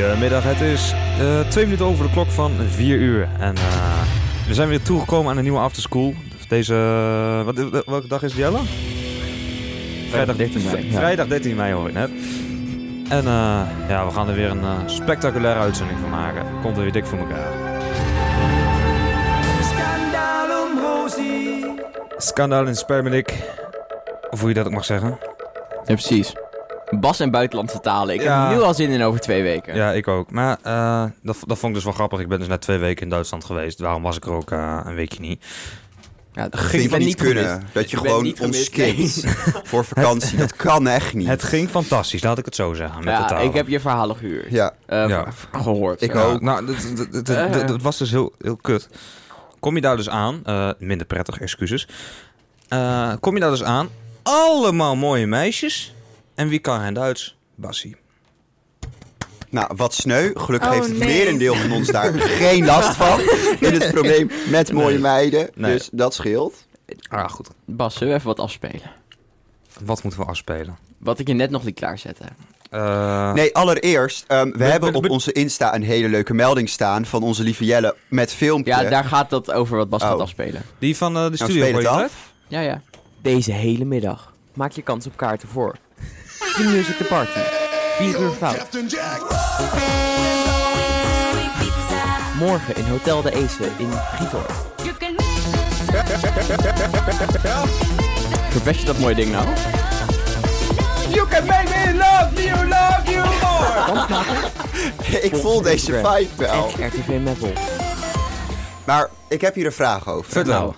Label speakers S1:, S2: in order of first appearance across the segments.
S1: Goedemiddag, het is eh, twee minuten over de klok van vier uur. En eh, we zijn weer toegekomen aan een nieuwe afterschool. Deze, eh, wat, welke dag is het, Jelle? Vrijdag
S2: 13 mei, ja.
S1: Vrijdag 13 mei hoor ik net. En eh, ja, we gaan er weer een eh, spectaculaire uitzending van maken. Komt er weer dik voor elkaar. Skandaal in Spermelik. Of hoe je dat ook mag zeggen.
S2: Ja, precies. Bas en buitenlandse talen. Ik
S1: Ja.
S2: heb er nu al zin in over twee weken.
S1: Ja, ik ook. Maar eh, dat, dat vond ik dus wel grappig. Ik ben dus net twee weken in Duitsland geweest. Daarom was ik er ook eh, een weekje niet.
S2: Ja, dat
S3: Dat ging
S2: ben
S3: niet, kunnen.
S2: gemist.
S3: Dat je
S2: Ik ben
S3: gewoon
S2: niet
S3: ons
S2: gemist, nee.
S3: skipt voor vakantie. Dat kan echt niet.
S1: Het ging fantastisch, laat ik het zo zeggen. Met de
S2: Ja,
S1: taal.
S2: ik heb je verhalen gehuurd.
S3: Ja,
S2: Eh,
S1: Ja.
S2: v- Gehoord.
S3: Ik
S2: Ja.
S3: ook.
S1: Nou, dat- dat- dat-
S2: Eh.
S1: dat- dat was dus heel, heel kut. Kom je daar dus aan, eh, minder prettig, excuses. Eh, kom je daar dus aan, allemaal mooie meisjes. En wie kan geen Duits? Bassie.
S3: nou wat sneu. Gelukkig
S4: Oh,
S3: heeft het
S4: nee.
S3: merendeel van ons daar geen last van. In het probleem met mooie
S1: Nee.
S3: meiden.
S1: Nee.
S3: Dus dat scheelt.
S1: Ah, goed.
S2: Bas, zullen we even wat afspelen?
S1: Wat moeten we afspelen?
S2: Wat ik je net nog liet klaarzetten.
S1: Eh,
S3: Nee, allereerst, ehm, we
S1: Be-
S3: hebben
S1: be-
S3: op
S1: be-
S3: onze Insta een hele leuke melding staan van onze lieve Jelle met filmpje.
S2: Ja, daar gaat dat over wat Bas gaat
S3: Oh.
S2: afspelen.
S1: Die van eh, de
S3: nou,
S1: studio
S3: speel het
S1: hoor je
S3: af.
S2: Ja, ja. Deze hele middag maak je kans op kaarten voor. The Music The Party. 4 uur fout. Morgen in Hotel de Ace in Giethoorn. Verpest je dat mooie ding nou?
S3: Ik voel deze
S2: Instagram.
S3: vibe wel.
S2: RTV Metal.
S3: Maar ik heb hier een vraag over.
S1: Vertel.
S2: Nou.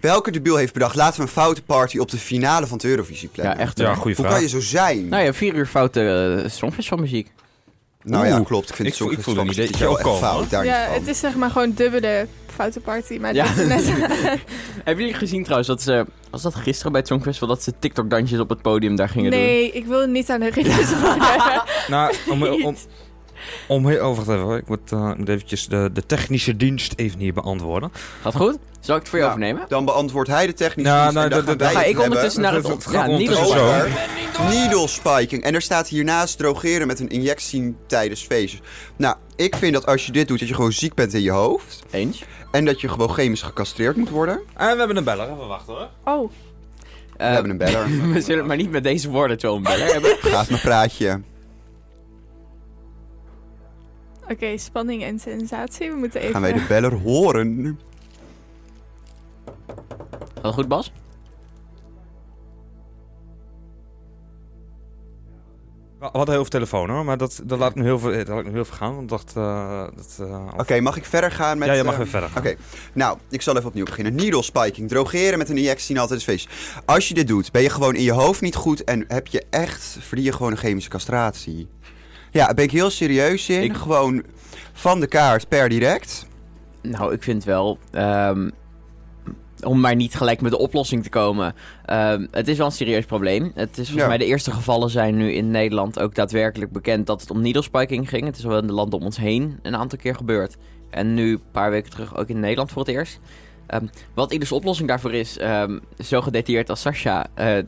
S3: Welke debiel heeft bedacht, laten we een foute party op de finale van het Eurovisie
S2: Ja,
S3: plannen?
S2: echt.
S1: Ja,
S2: hoor.
S1: goede
S3: Hoe
S1: vraag.
S3: kan je zo zijn?
S2: Nou ja, 4 uur foute uh, songfestivalmuziek.
S3: Nou ja,
S1: Oeh.
S3: klopt. Ik vind
S1: Ik
S3: het
S1: voel- ik
S3: soms
S1: voel
S3: wel
S1: een
S3: een
S1: ideetje
S3: beetje
S1: opkomen,
S3: fout
S1: hoor.
S3: daar
S4: Ja,
S3: niet van.
S4: het is zeg maar gewoon dubbele foute party. Maar
S2: Ja.
S4: dit is net...
S2: Hebben jullie gezien trouwens dat ze, was dat gisteren bij het Songfestival, dat ze TikTok-dansjes op het podium daar gingen doen?
S4: nee, ik wil niet aan de regels worden.
S1: Nou, om, om, om heel over te hebben, hoor. ik moet, eh, ik moet eventjes de, de technische dienst even hier beantwoorden.
S2: Gaat goed? Zal ik het voor je
S3: Nou,
S2: overnemen?
S3: Dan beantwoordt hij de technische
S1: Nou,
S3: dienst
S1: nou,
S3: en dan
S1: dat-
S3: gaan
S1: dat-
S3: wij
S2: Ga
S3: het
S2: ik
S3: hebben
S2: ondertussen naar het...
S1: Het- het
S2: on-
S1: gaat
S2: ja, niet
S1: ondertussen
S2: zo.
S1: zo.
S3: over needle spiking. En er staat hiernaast drogeren met een injectie tijdens feestjes. Nou, ik vind dat als je dit doet, dat je gewoon ziek bent in je hoofd.
S2: Eens.
S3: En dat je gewoon chemisch gecastreerd moet worden.
S1: En Eh, we hebben een beller, even wachten hoor.
S2: Eh,
S4: Oh,
S3: We hebben een beller.
S2: We zullen het maar niet met deze woorden zo een beller hebben.
S3: Gaat mijn praatje.
S4: oké. spanning en sensatie. We moeten even...
S3: Gaan wij de beller horen?
S2: Gaat het goed, Bas?
S1: We hadden heel veel telefoon hoor, maar dat, dat laat ik nu heel veel, dat laat ik nu heel veel gaan. Want ik dacht, eh, dat, eh,
S3: Oké, mag ik verder gaan met...
S1: ja, je mag
S3: eh,
S1: weer verder.
S3: Oké, nou, ik zal even opnieuw beginnen. Needle spiking, drogeren met een injectie in altijd feest. Als je dit doet, ben je gewoon in je hoofd niet goed en heb je echt, verdien je gewoon een chemische castratie. Ja, daar ben ik heel serieus in.
S1: Ik-
S3: Gewoon van de kaart per direct.
S2: Nou, ik vind wel... ehm, om maar niet gelijk met de oplossing te komen. ehm, het is wel een serieus probleem. Het is volgens
S3: Ja.
S2: mij de eerste gevallen zijn nu in Nederland ook daadwerkelijk bekend dat het om needlespiking ging. Het is al in de landen om ons heen een aantal keer gebeurd. En nu, een paar weken terug, ook in Nederland voor het eerst. Ehm, wat ieders oplossing daarvoor is, ehm, zo gedetailleerd als Sasha, eh,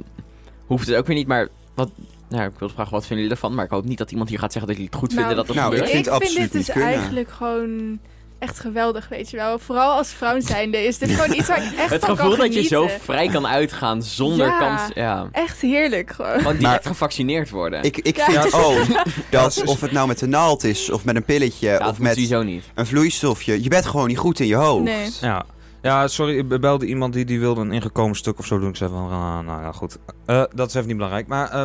S2: hoeft het ook weer niet. Maar wat, nou, ik wil vragen, wat vinden jullie ervan? Maar ik hoop niet dat iemand hier gaat zeggen dat jullie het goed vinden dat dat
S3: nou,
S2: gebeurt.
S3: ik vind het absoluut
S4: dit dus
S3: niet kunnen.
S4: eigenlijk gewoon echt geweldig, weet je wel. Vooral als vrouw zijnde is dit gewoon iets waar ik echt
S2: Het
S4: van
S2: gevoel
S4: kan
S2: dat je zo
S4: genieten.
S2: vrij kan uitgaan zonder
S4: Ja.
S2: kans. Ja.
S4: Echt heerlijk gewoon.
S2: Gewoon direct gevaccineerd worden.
S3: Ik, ik
S4: Ja.
S3: vind
S1: Ja.
S3: ook dat of het nou met een naald is, of met een pilletje,
S2: ja, dat
S3: of
S2: moet
S3: met
S2: sowieso niet.
S3: een vloeistofje. Je bent gewoon niet goed in je hoofd.
S4: Nee.
S1: Ja. ja, sorry, ik belde iemand die, die wilde een ingekomen stuk of zo doen. Ik zei van, ah, nou ja, goed. Eh, dat is even niet belangrijk, maar eh,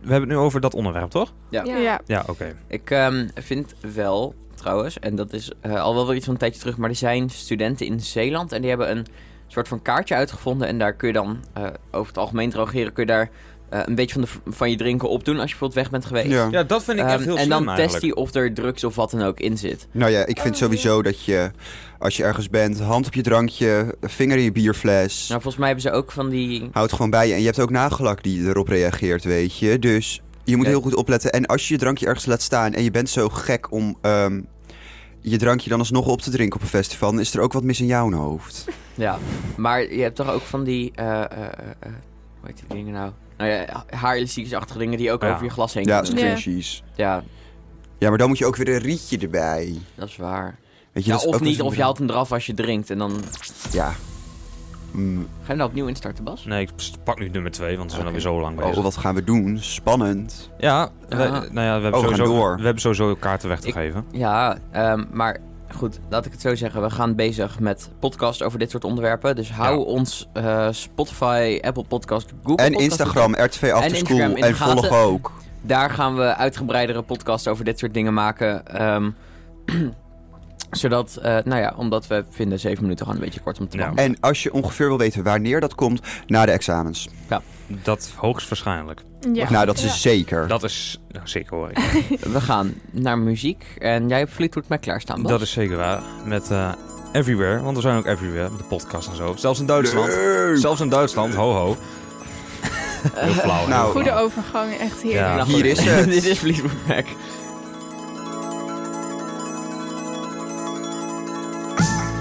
S1: we hebben het nu over dat onderwerp, toch?
S2: Ja.
S4: Ja.
S1: Ja, oké.
S2: Ik ehm, vind wel, trouwens, en dat is eh, al wel weer iets van een tijdje terug, maar er zijn studenten in Zeeland en die hebben een soort van kaartje uitgevonden. En daar kun je dan, eh, over het algemeen drogeren, kun je daar eh, een beetje van, de, van je drinken opdoen als je bijvoorbeeld weg bent geweest.
S3: Ja.
S1: Ja, dat vind ik echt
S2: Ehm,
S1: heel
S2: en
S1: slim
S2: dan
S1: eigenlijk.
S2: test hij of er drugs of wat dan ook in zit.
S3: Nou ja, ik vind
S4: Oh,
S3: sowieso dat je, als je ergens bent, hand op je drankje, vinger in je bierfles.
S2: Nou, volgens mij hebben ze ook van die...
S3: Houd gewoon bij je. En je hebt ook nagelak die erop reageert, weet je. Dus je moet
S2: Ja.
S3: heel goed opletten. En als je je drankje ergens laat staan en je bent zo gek om ehm, je drankje dan alsnog op te drinken op een festival, dan is er ook wat mis in jouw hoofd.
S2: Ja, maar je hebt toch ook van die... eh, eh, eh, eh, hoe heet die dingen nou? Nou ja, haarelastiekjes-achtige dingen die ook
S1: Ja.
S2: over je glas heen
S3: Ja,
S2: kunnen.
S4: Ja.
S3: scrunchies.
S2: Ja,
S3: Ja, maar dan moet je ook weer een rietje erbij.
S5: Dat is waar.
S3: Weet je,
S5: Ja,
S3: dat is
S5: of
S3: ook weer
S5: niet,
S3: zo'n
S5: of je haalt hem eraf als je drinkt. En dan ga
S3: bedrag. Ja. Mm.
S5: je hem nou opnieuw instarten, Bas?
S1: Nee, ik pst- pak nu nummer 2, want we zijn
S5: Oké.
S1: alweer zo lang bezig.
S3: Oh, wat gaan we doen? Spannend.
S1: Ja, wij-
S5: Ah.
S1: nou ja, we hebben,
S3: Oh, we gaan
S1: sowieso,
S3: door.
S1: we hebben sowieso kaarten weg te
S5: Ik-
S1: geven.
S5: Ja, ehm, maar goed, laat ik het zo zeggen. We gaan bezig met podcasts over dit soort onderwerpen. Dus hou
S1: Ja.
S5: ons eh, Spotify, Apple Podcast, Google
S3: En
S5: Podcast-
S3: Instagram, RTV After
S5: Instagram
S3: School.
S5: in de
S3: En volg
S5: gaten.
S3: ook.
S5: Daar gaan we uitgebreidere podcasts over dit soort dingen maken. ehm, zodat, eh, nou ja, omdat we vinden zeven minuten gewoon een beetje kort om te
S1: Ja.
S5: maken.
S3: En als je ongeveer wil weten wanneer dat komt, na de examens.
S1: Dat hoogstwaarschijnlijk.
S4: Ja.
S3: Nou, dat is
S4: Ja.
S3: zeker.
S1: Dat is nou, zeker hoor. ik.
S5: We gaan naar muziek. En jij hebt Fleetwood Mac klaarstaan, Bas.
S1: Dat is zeker waar. Met eh, Everywhere, want we zijn ook Everywhere, met de podcast en zo. Zelfs in Duitsland.
S3: Leuk.
S1: Zelfs in Duitsland, ho ho. Heel flauw. heel
S3: Nou,
S1: flauw.
S4: Goede overgang, echt
S1: Ja.
S4: heerlijk.
S5: Nou,
S3: Hier is
S5: goed.
S3: het.
S5: Dit is Fleetwood Mac.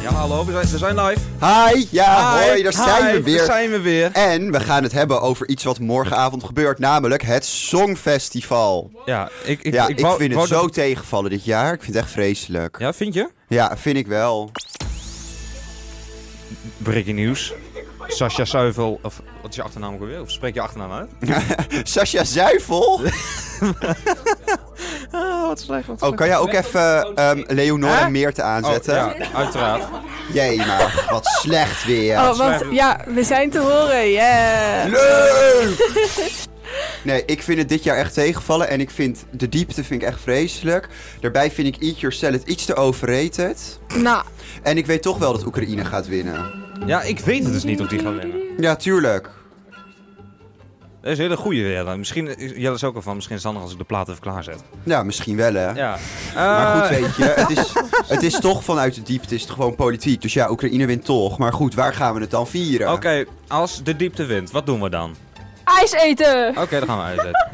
S1: Ja, hallo, we zijn, we zijn live.
S3: Hi, ja, hoi, daar zijn
S1: hi,
S3: we weer.
S1: Daar zijn we weer.
S3: En we gaan het hebben over iets wat morgenavond gebeurt, namelijk het Songfestival.
S1: Ja, ik, ik,
S3: ja,
S1: ik
S3: ik,
S1: wou-
S3: vind
S1: wou
S3: het zo
S1: dat-
S3: tegenvallen dit jaar. Ik vind het echt vreselijk. Ja,
S1: Ja, vind je?
S3: vind ik wel.
S1: Breaking nieuws. Sascha Suivel, of wat is je achternaam ook alweer? Of spreek je achternaam uit?
S3: Sascha Zuivel?
S1: Ah, wat slecht. Wat
S3: Oh, kan jij ook even ehm Leonore
S1: Hè? Oh,
S3: Meerte aanzetten?
S1: ja, uiteraard.
S3: Jee, maar wat slecht weer.
S4: Oh, want ja, we zijn te horen. Yeah.
S3: Leuk! Nee, ik vind het dit jaar echt tegenvallen. En ik vind de diepte vind ik echt vreselijk. Daarbij vind ik Eat Your Salad iets te overrated.
S4: Nou,
S3: En ik weet toch wel dat Oekraïne gaat winnen.
S1: Ja, ik weet het dus niet of die gaan winnen.
S3: Ja, tuurlijk.
S1: Dat is een hele goede weer. dan. Misschien, Jelle is ook al van, misschien is het handig als ik de plaat even klaarzet.
S3: Ja, misschien wel hè.
S1: Ja.
S3: Maar goed,
S1: Eh,
S3: weet je, het is, het is toch vanuit de diepte is het gewoon politiek. Dus ja, Oekraïne wint toch. Maar goed, waar gaan we het dan vieren?
S1: Oké, als de diepte wint, wat doen we dan?
S4: ijs eten!
S1: Oké, dan gaan we uitzetten.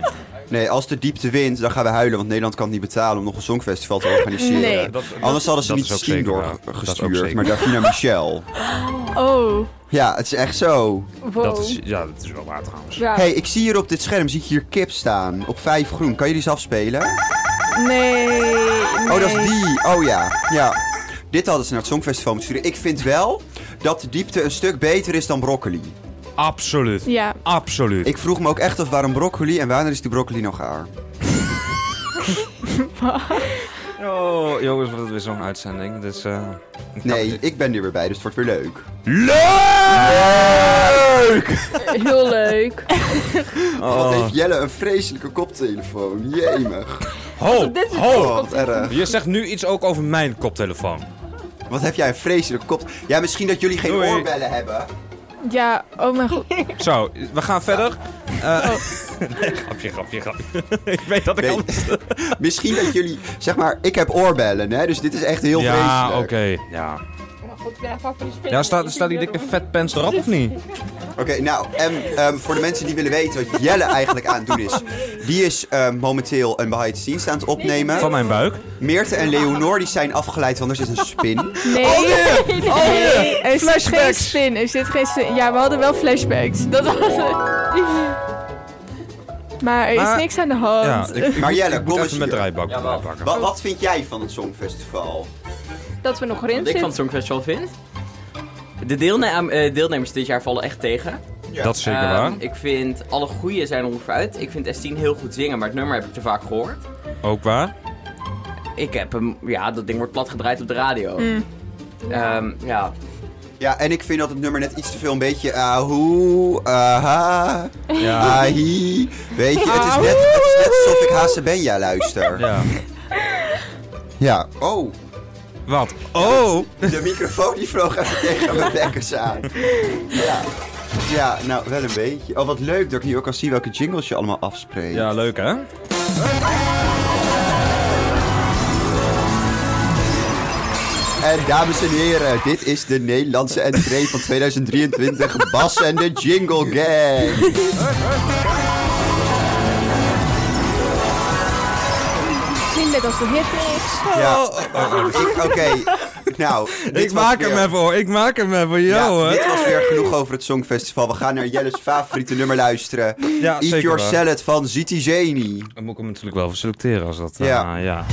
S3: Nee, als de diepte wint, dan gaan we huilen. Want Nederland kan het niet betalen om nog een songfestival te organiseren.
S4: Nee.
S1: Dat-
S3: Anders hadden ze
S1: dat
S3: niet
S1: is ook
S3: Steen
S1: zeker waar. Dat is ook
S3: doorgestuurd,
S1: zeker.
S3: maar Davina Michel.
S4: Oh,
S3: Ja, het is echt zo.
S4: wow.
S1: Dat is, ja, dat is wel waar trouwens.
S4: Ja.
S3: Hey, ik zie hier op dit scherm zie ik hier kip staan. Op 5 groen. Kan je die eens afspelen?
S4: Nee,
S3: Oh, dat
S4: nee.
S3: is die. Oh ja. Ja. Dit hadden ze naar het Songfestival moeten sturen. Ik vind wel dat de diepte een stuk beter is dan broccoli.
S1: Absoluut.
S4: Ja,
S1: Absoluut.
S3: Ik vroeg me ook echt af waarom broccoli en wanneer is die broccoli nog gaar.
S1: Oh, jongens, wat is weer zo'n uitzending. Dus, eh, ik
S3: Nee,
S1: kan-
S3: ik ben er weer bij, dus het wordt weer leuk.
S1: Leuk!
S4: heel leuk.
S3: Wat
S1: Oh.
S3: heeft Jelle een vreselijke koptelefoon. Jemig.
S1: Ho,
S4: Dit is-
S1: ho!
S3: Oh, wat erg.
S1: Je zegt nu iets ook over mijn koptelefoon.
S3: Wat heb jij een vreselijke kop... Ja, misschien dat jullie geen
S1: Doei.
S3: oorbellen hebben.
S4: Ja, oh mijn god.
S1: Zo, we gaan verder. Eh
S4: Oh.
S1: nee, grapje, grapje, grapje. ik weet dat ik
S3: Nee.
S1: al...
S3: Misschien dat jullie... Zeg maar, ik heb oorbellen, hè. Dus dit is echt heel
S1: ja, oké.
S3: vreselijk.
S1: ja. Ja, staat, staat die dikke vetpens erop of niet?
S3: Oké, nou, en ehm, voor de mensen die willen weten wat Jelle eigenlijk aan het doen is. Die is ehm, momenteel een behind the scenes aan het opnemen.
S1: Van mijn buik?
S3: Meerte en Leonor die zijn afgeleid, want er zit een spin.
S4: Nee. Oh, nee. Er zit geen spin. Er zit geen spin. Ja, we hadden wel flashbacks. Dat hadden Maar er is
S1: Maar-
S4: niks aan de hand.
S1: Ja, ik, ik
S3: Maar
S1: moet-
S3: Jelle,
S1: ik moet
S3: eh, kom eens
S1: even met de
S3: hier.
S1: rijbak
S5: Jawel.
S1: pakken.
S3: Wa- wat vind jij van het Songfestival?
S4: Dat we nog
S5: Wat
S4: erin
S5: ik van
S4: zitten.
S5: het Songfestival vind? De deelne- eh, deelnemers dit jaar vallen echt tegen.
S1: Dat is zeker
S5: Ehm,
S1: waar.
S5: Ik vind alle goeie zijn er ongeveer uit. Ik vind S10 heel goed zingen, maar het nummer heb ik te vaak gehoord.
S1: Ook waar.
S5: Ik heb hem, ja, dat ding wordt plat gedraaid op de radio.
S4: Mm.
S5: Ehm, ja.
S3: Ja, en ik vind dat het nummer net iets te veel een beetje ah, ahoe, aha,
S1: Ja.
S3: ahi. ah, Weet je, het is net, het is net alsof ik Hazebenja luister. Ja.
S1: ja.
S3: Oh,
S1: Wat? Oh!
S3: de microfoon die vloog even tegen mijn bekkers aan. Ja. ja, nou wel een beetje. Oh, wat leuk dat ik nu ook kan zien welke jingles je allemaal afspreekt.
S1: Ja, leuk hè?
S3: En dames en heren, dit is de Nederlandse entree van 2023. Bas en de Jingle Gang.
S4: Minder bekend als de hitmix.
S3: Ja. Ik- Oké, nou. dit
S1: Oh. Ik
S3: was
S1: maak
S3: weer-
S1: hem even hoor, ik maak hem even.
S3: Ja,
S1: Yo, hè.
S3: dit was weer genoeg over het Songfestival. We gaan naar Jelle's favoriete nummer luisteren.
S1: Ja,
S3: Eat Your
S1: waar.
S3: Salad van Ziti Zeni.
S1: Dan moet ik hem natuurlijk wel voor selecteren als dat.
S3: Ja.
S1: Ja. ja.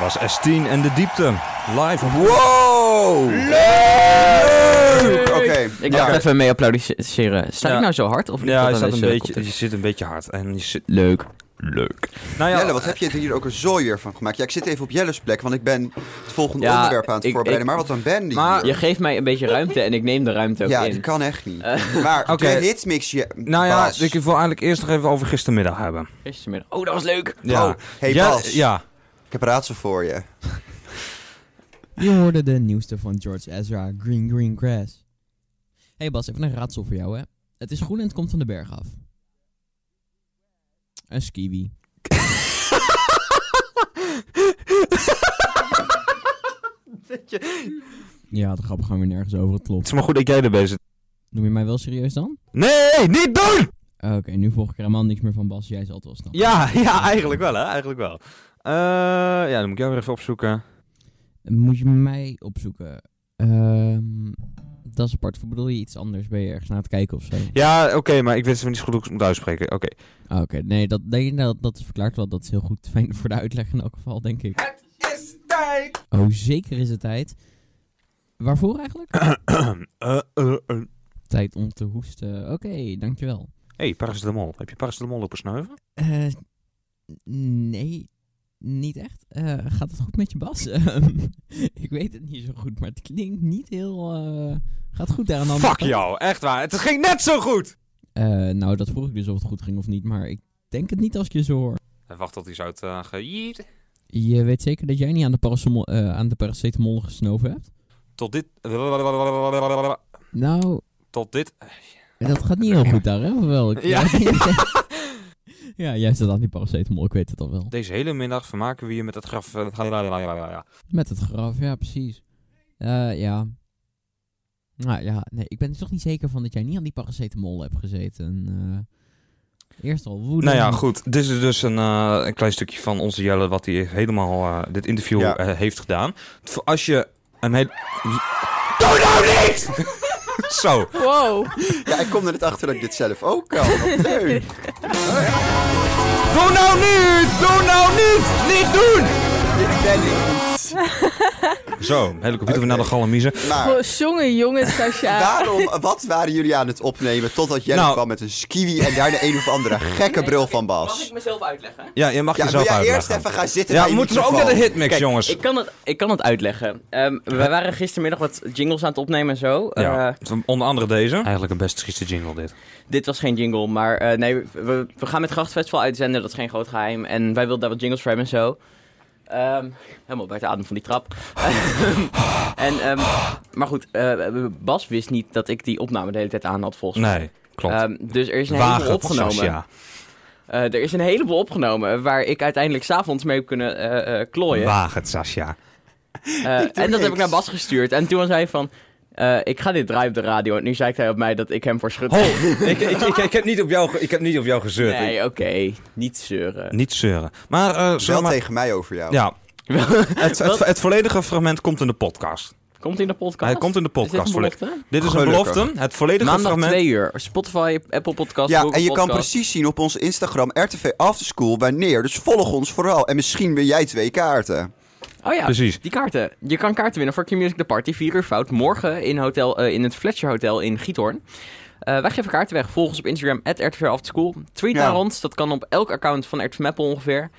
S1: Was S10 en de diepte. Live op
S3: Wow! Leuk! Oké,
S2: Ik
S3: ja.
S2: dacht even mee applaudisseren. Sta ik
S1: Ja.
S2: nou zo hard? Of
S1: Ja, je,
S2: dat
S1: staat een beetje, je zit een beetje hard. En je zit,
S2: eh, Leuk. Leuk.
S1: nou ja,
S3: Jelle, wat heb je hier ook een zooi weer van gemaakt? Ja, ik zit even op Jelle's plek, want ik ben het volgende
S2: Ja,
S3: onderwerp aan het
S2: ik-
S3: voorbereiden.
S2: ik-
S3: maar wat een band
S1: Maar-
S2: Je geeft mij een beetje ruimte en ik neem de ruimte ook
S3: Ja,
S2: in.
S3: dat kan echt niet. Maar
S1: Eh, Oké.
S3: de hitmix... Je,
S1: nou ja
S3: Bas.
S1: ik wil eigenlijk eerst nog even over gistermiddag hebben.
S2: Gistermiddag. Oh, dat was leuk.
S1: Ja.
S3: Oh, hey
S1: ja,
S3: Bas.
S1: Ja.
S3: Ik heb raadsel voor je.
S5: Je hoorde de nieuwste van George Ezra, Green Green Grass. Hey Bas, even een raadsel voor jou hè. Het is groen en het komt van de berg af. Een skiwi. Ja, dat grappig gewoon weer nergens over, het
S1: Het
S5: klopt.
S1: is maar goed dat jij er bezig
S5: Noem je mij wel serieus dan? Ah,
S1: Nee, niet doen!
S5: Oké, nu volg ik er helemaal niks meer van Bas, jij zal het wel snappen.
S1: Ja, ja, eigenlijk wel hè, eigenlijk wel. Eh, ja, dan moet ik jou weer even opzoeken.
S5: Moet je mij opzoeken? Ehm, dat is apart, Of bedoel je iets anders? Ben je ergens naar het kijken of zo?
S1: Ja, oké, maar ik weet even niet zo goed hoe ik het moet uitspreken. Oké.
S5: Ah, Oké, nee, dat, nee dat, dat verklaart wel. Dat is heel goed. Fijn voor de uitleg in elk geval, denk ik. Het is tijd! Oh, zeker is het tijd. Waarvoor eigenlijk?
S1: Eh, eh, eh.
S5: tijd om te hoesten. Oké, dankjewel.
S1: hey, paracetamol. Heb je paracetamol lopen snuiven?
S5: Eh, nee, niet echt. Eh, gaat het goed met je Bas? Ehm, ik weet het niet zo goed, maar het klinkt niet heel... eh, gaat goed daar aan de andere
S1: Fuck
S5: kant.
S1: jou, echt waar. Het ging net zo goed!
S5: Eh, nou, dat vroeg ik dus of het goed ging of niet, maar ik denk het niet als ik je zo hoor.
S1: Hij wacht tot hij is uit eh, gejiet.
S5: Je weet zeker dat jij niet aan de, paracetamol- eh, aan de paracetamol gesnoven hebt?
S1: Tot dit...
S5: Nou,
S1: Tot dit...
S5: Dat gaat niet heel goed daar, hè? Of wel? Ik-
S1: Ja.
S5: ja, jij staat aan die paracetamol, ik weet het al wel.
S1: Deze hele middag vermaken we je met het graf...
S5: Met het graf, ja, precies. Eh, ja. Nou ja, nee, ik ben er toch niet zeker van dat jij niet aan die paracetamol hebt gezeten. Eh, eerst al woede.
S1: Nou ja, goed. Dit is dus een, eh, een klein stukje van onze Jelle... wat hij helemaal eh, dit interview
S3: Ja.
S1: eh, heeft gedaan. Voor Als je een hele... Doe nou niet! Zo.
S4: Wow.
S3: Ja, ik kom er net achter dat ik dit zelf ook kan. Wat Leuk.
S1: Doe nou niet! Doe nou niet! Niet doen!
S3: Dit ben ik.
S1: Zo, hele computer weer naar de galmiezen.
S3: Maar
S4: Wow, Jongen, jongen, Sasha.
S3: waarom, wat waren jullie aan het opnemen totdat Jelle
S1: Nou.
S3: kwam met een skiwi en daar de een of andere gekke bril van
S2: Mag
S3: Bas?
S2: ik mezelf uitleggen?
S1: Ja, je mag
S3: Ja, wil
S1: jezelf
S3: jij
S1: uitleggen.
S3: eerst even gaan zitten
S1: Ja,
S3: bij
S1: we
S3: je
S1: moeten zo ook naar
S3: microfoon?
S1: de hitmix,
S2: Kijk,
S1: jongens.
S2: Ik kan het, ik kan het uitleggen. Ehm, wij waren gistermiddag wat jingles aan het opnemen en zo.
S1: Ja,
S2: Eh,
S1: onder andere deze. Eigenlijk een best trieste jingle dit.
S2: dit was geen jingle, maar eh, nee, we, we gaan met Grachtfestival uitzenden. Dat is geen groot geheim. En wij wilden daar wat jingles voor hebben en zo. Ehm, helemaal bij de adem van die trap. en, ehm, maar goed, eh, Bas wist niet dat ik die opname de hele tijd aan had volgens mij.
S1: Nee, klopt.
S2: Ehm, dus er is een
S1: Wagen
S2: heleboel
S1: het,
S2: opgenomen.
S1: Sascha.
S2: Eh, er is een heleboel opgenomen waar ik uiteindelijk s'avonds mee heb kunnen eh, eh, klooien.
S1: Waag het, Sascha.
S2: Eh, en
S3: doe
S2: dat heb
S3: niks.
S2: ik naar Bas gestuurd. En toen was hij van, eh, ik ga dit draaien op de radio. En nu zei hij op mij dat ik hem voor schut...
S1: Ho, ik, ik, ik, ik heb niet op jou, ge- ik heb niet op jou gezeurd.
S2: nee,
S1: Ik-
S2: oké. Niet zeuren.
S1: Niet zeuren. Maar, eh
S3: Wel
S1: zeg maar
S3: tegen mij over jou.
S1: ja. het, het, het volledige fragment komt in de podcast.
S2: Komt hij in de podcast?
S1: Hij komt in de
S2: Is dit
S1: podcast.
S2: een
S1: volle-
S2: belofte?
S1: Dit is een
S3: Gelukkig.
S1: belofte. Het volledige
S2: Maandag
S1: fragment.
S2: 2 uur. Spotify, Apple Podcast,
S3: Ja,
S2: Google
S3: en je kan
S2: Podcast.
S3: precies zien op onze Instagram RTV Afterschool wanneer. Dus volg ons vooral. En misschien wil jij twee kaarten.
S2: Oh ja,
S1: Precies.
S2: die kaarten. Je kan kaarten winnen voor Q Music The Party. 4 uur fout. Morgen in, hotel, eh, in het Fletcher Hotel in Giethoorn. Eh, wij geven kaarten weg. Volg ons op Instagram, at RTV Afterschool. Tweet
S3: Ja.
S2: naar ons. Dat kan op elk account van RTV Meppel ongeveer.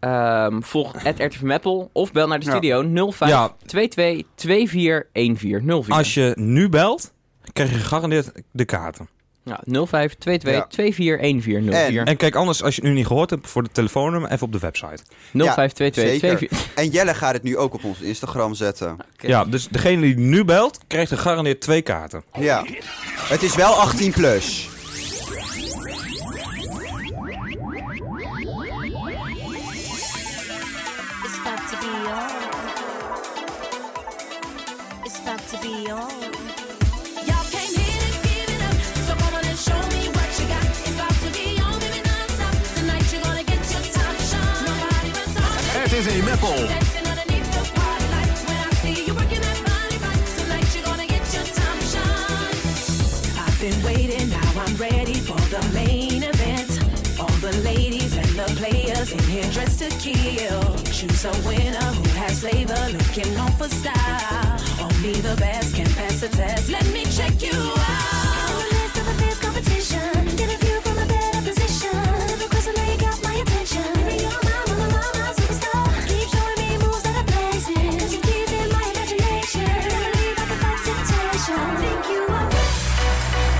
S2: Ehm, volg at RTV Meppel. Of bel naar de
S3: Ja.
S2: studio 05
S1: Ja.
S2: 22 24 1404.
S1: Als je nu belt, krijg je gegarandeerd de kaarten.
S2: Ja, 05 22
S3: Ja.
S2: 24 1404.
S1: En kijk, anders, als je het nu niet gehoord hebt, voor de telefoonnummer even op de website.
S2: 05 22
S3: Zeker.
S2: 24
S3: En Jelle gaat het nu ook op ons Instagram zetten.
S2: Kijk.
S1: Ja, dus degene die nu belt, krijgt er gegarandeerd twee kaarten.
S3: Ja. Het is wel 18 plus.
S6: It's about to be on. It's about to be on. Y'all came here to give it up, so come on and show me what you got. It's about to be on, baby, non-stop. Tonight you're gonna get your top.
S7: Het is een meppel.
S8: Dancing underneath the spotlights. When I see you working that body right, tonight you're gonna get your time to shine.
S6: I've been waiting, now I'm ready for the main event. All the ladies and the players in here dressed to kill. Choose a winner who has flavor, looking on for style. Only the best can pass the test. Let me check you out.
S8: I'm the best of a fierce competition. Get a view from a better position. Never question how you got my attention. Baby, you're my, my, my, my, my superstar. Keep showing me moves that are blazing. 'Cause you're teasing my imagination. Never leave like a fat temptation. I think you are.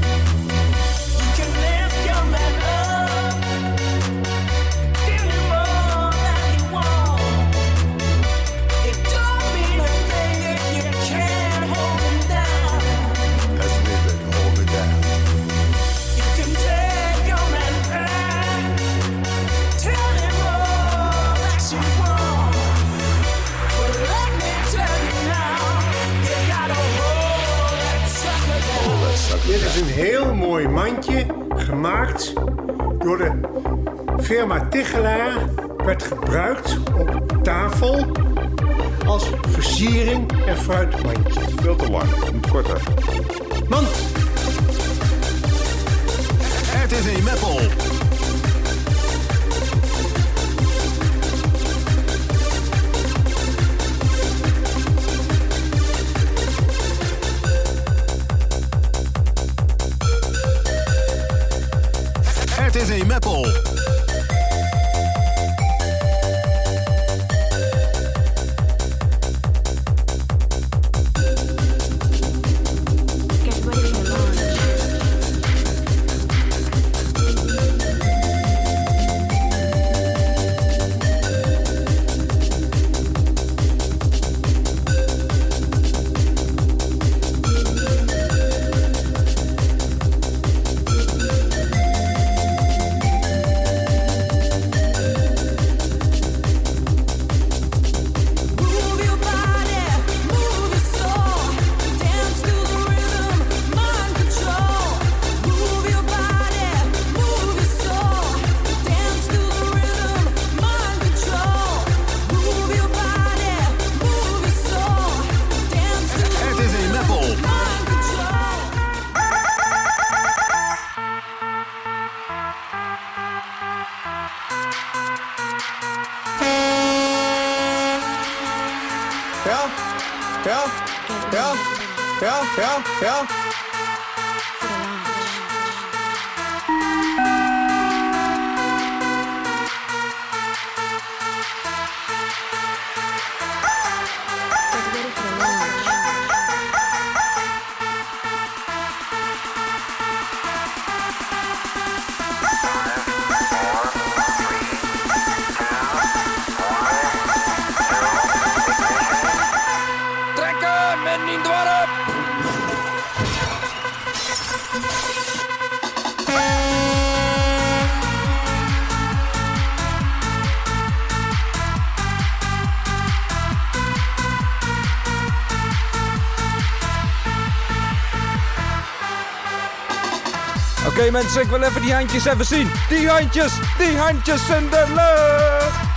S6: You can live your life, give him all that he wants. It don't mean a thing if you can't hold him down.
S7: That's me, baby. Hold me down.
S6: You can take your man back, tell him all that you want. But let me tell you now, you gotta hold that sucker down.
S9: Dit is een heel mooi mandje, gemaakt door de firma Tichelaar. Werd gebruikt op tafel als versiering en fruitmandje.
S7: Veel te lang. Moet korter.
S9: Mand!
S7: Het is een meppel. Het is een meppel.
S8: Get ready to launch. Move your body, move your soul, dance to the rhythm, mind control. Move your body, move your soul, dance to the rhythm, mind control. Move your body, move your soul, dance to the
S7: Het is een meppel.
S8: rhythm, mind control.
S3: Ja, ja, ja, ja, ja, ja.
S8: Get ready for the launch.
S5: Trekken met niet dwarren!
S1: Oké mensen, ik wil even die handjes even zien. Die handjes, die handjes in de lucht.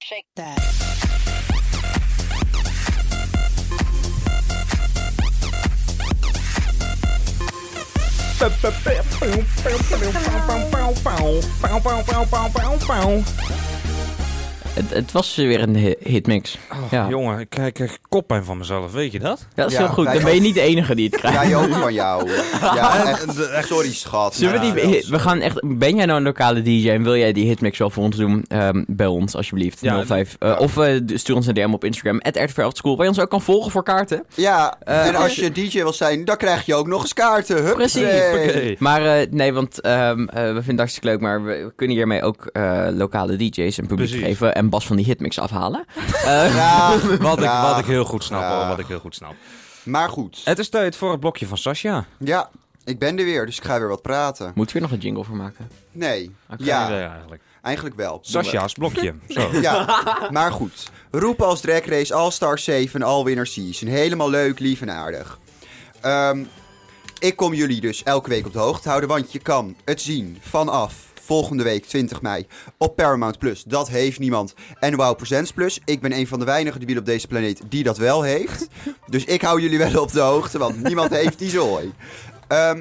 S10: shake that.
S5: Het, het was weer een hi- hitmix.
S1: Oh,
S5: ja.
S1: Jongen, ik krijg- ik krijg koppijn van mezelf, weet je dat?
S5: Ja, dat is
S3: Ja,
S5: heel goed.
S3: wij
S5: Dan ben je niet de enige die het krijgt.
S3: Jij ook van jou. Ja, echt. Sorry, schat.
S5: Zullen
S3: Ja,
S5: we, die, we gaan echt, ben jij nou een lokale DJ en wil jij die hitmix wel voor ons doen? Ehm bel ons alsjeblieft.
S1: Ja,
S5: 05. eh, Of eh, stuur ons een DM op Instagram. At School. Waar je ons ook kan volgen voor kaarten.
S3: Ja,
S5: Eh,
S3: en als je DJ wil zijn, dan krijg je ook nog eens kaarten. Hup,
S5: Precies.
S1: Oké.
S5: Maar eh, nee, want ehm, eh, we vinden het hartstikke leuk. Maar we kunnen hiermee ook eh, lokale DJ's en publiek
S1: Precies.
S5: geven. En Bas van die hitmix afhalen. Eh,
S1: Wat ik,
S3: Ja.
S1: wat ik heel goed snap, hoor,
S3: Ja.
S1: wat ik heel goed snap.
S3: Maar goed,
S1: Het is tijd voor het blokje van Sascha.
S3: ja, ik ben er weer, dus ik ga weer wat praten.
S5: Moeten we weer nog een jingle voor maken?
S3: Nee,
S5: Oké,
S1: Geen
S3: ja,
S1: idee eigenlijk.
S3: eigenlijk wel. Doen we.
S1: Sascha's blokje. Zo.
S3: Ja, maar goed. Roepen als Drag Race All-Star 7 All-Winner Season. Helemaal leuk, lief en aardig. Ehm, ik kom jullie dus elke week op de hoogte houden, want je kan het zien vanaf volgende week 20 mei op Paramount Plus. Dat heeft niemand. En Wow Presents Plus. Ik ben een van de weinigen debielen op deze planeet die dat wel heeft. Dus ik hou jullie wel op de hoogte, want niemand heeft die zooi. Ehm,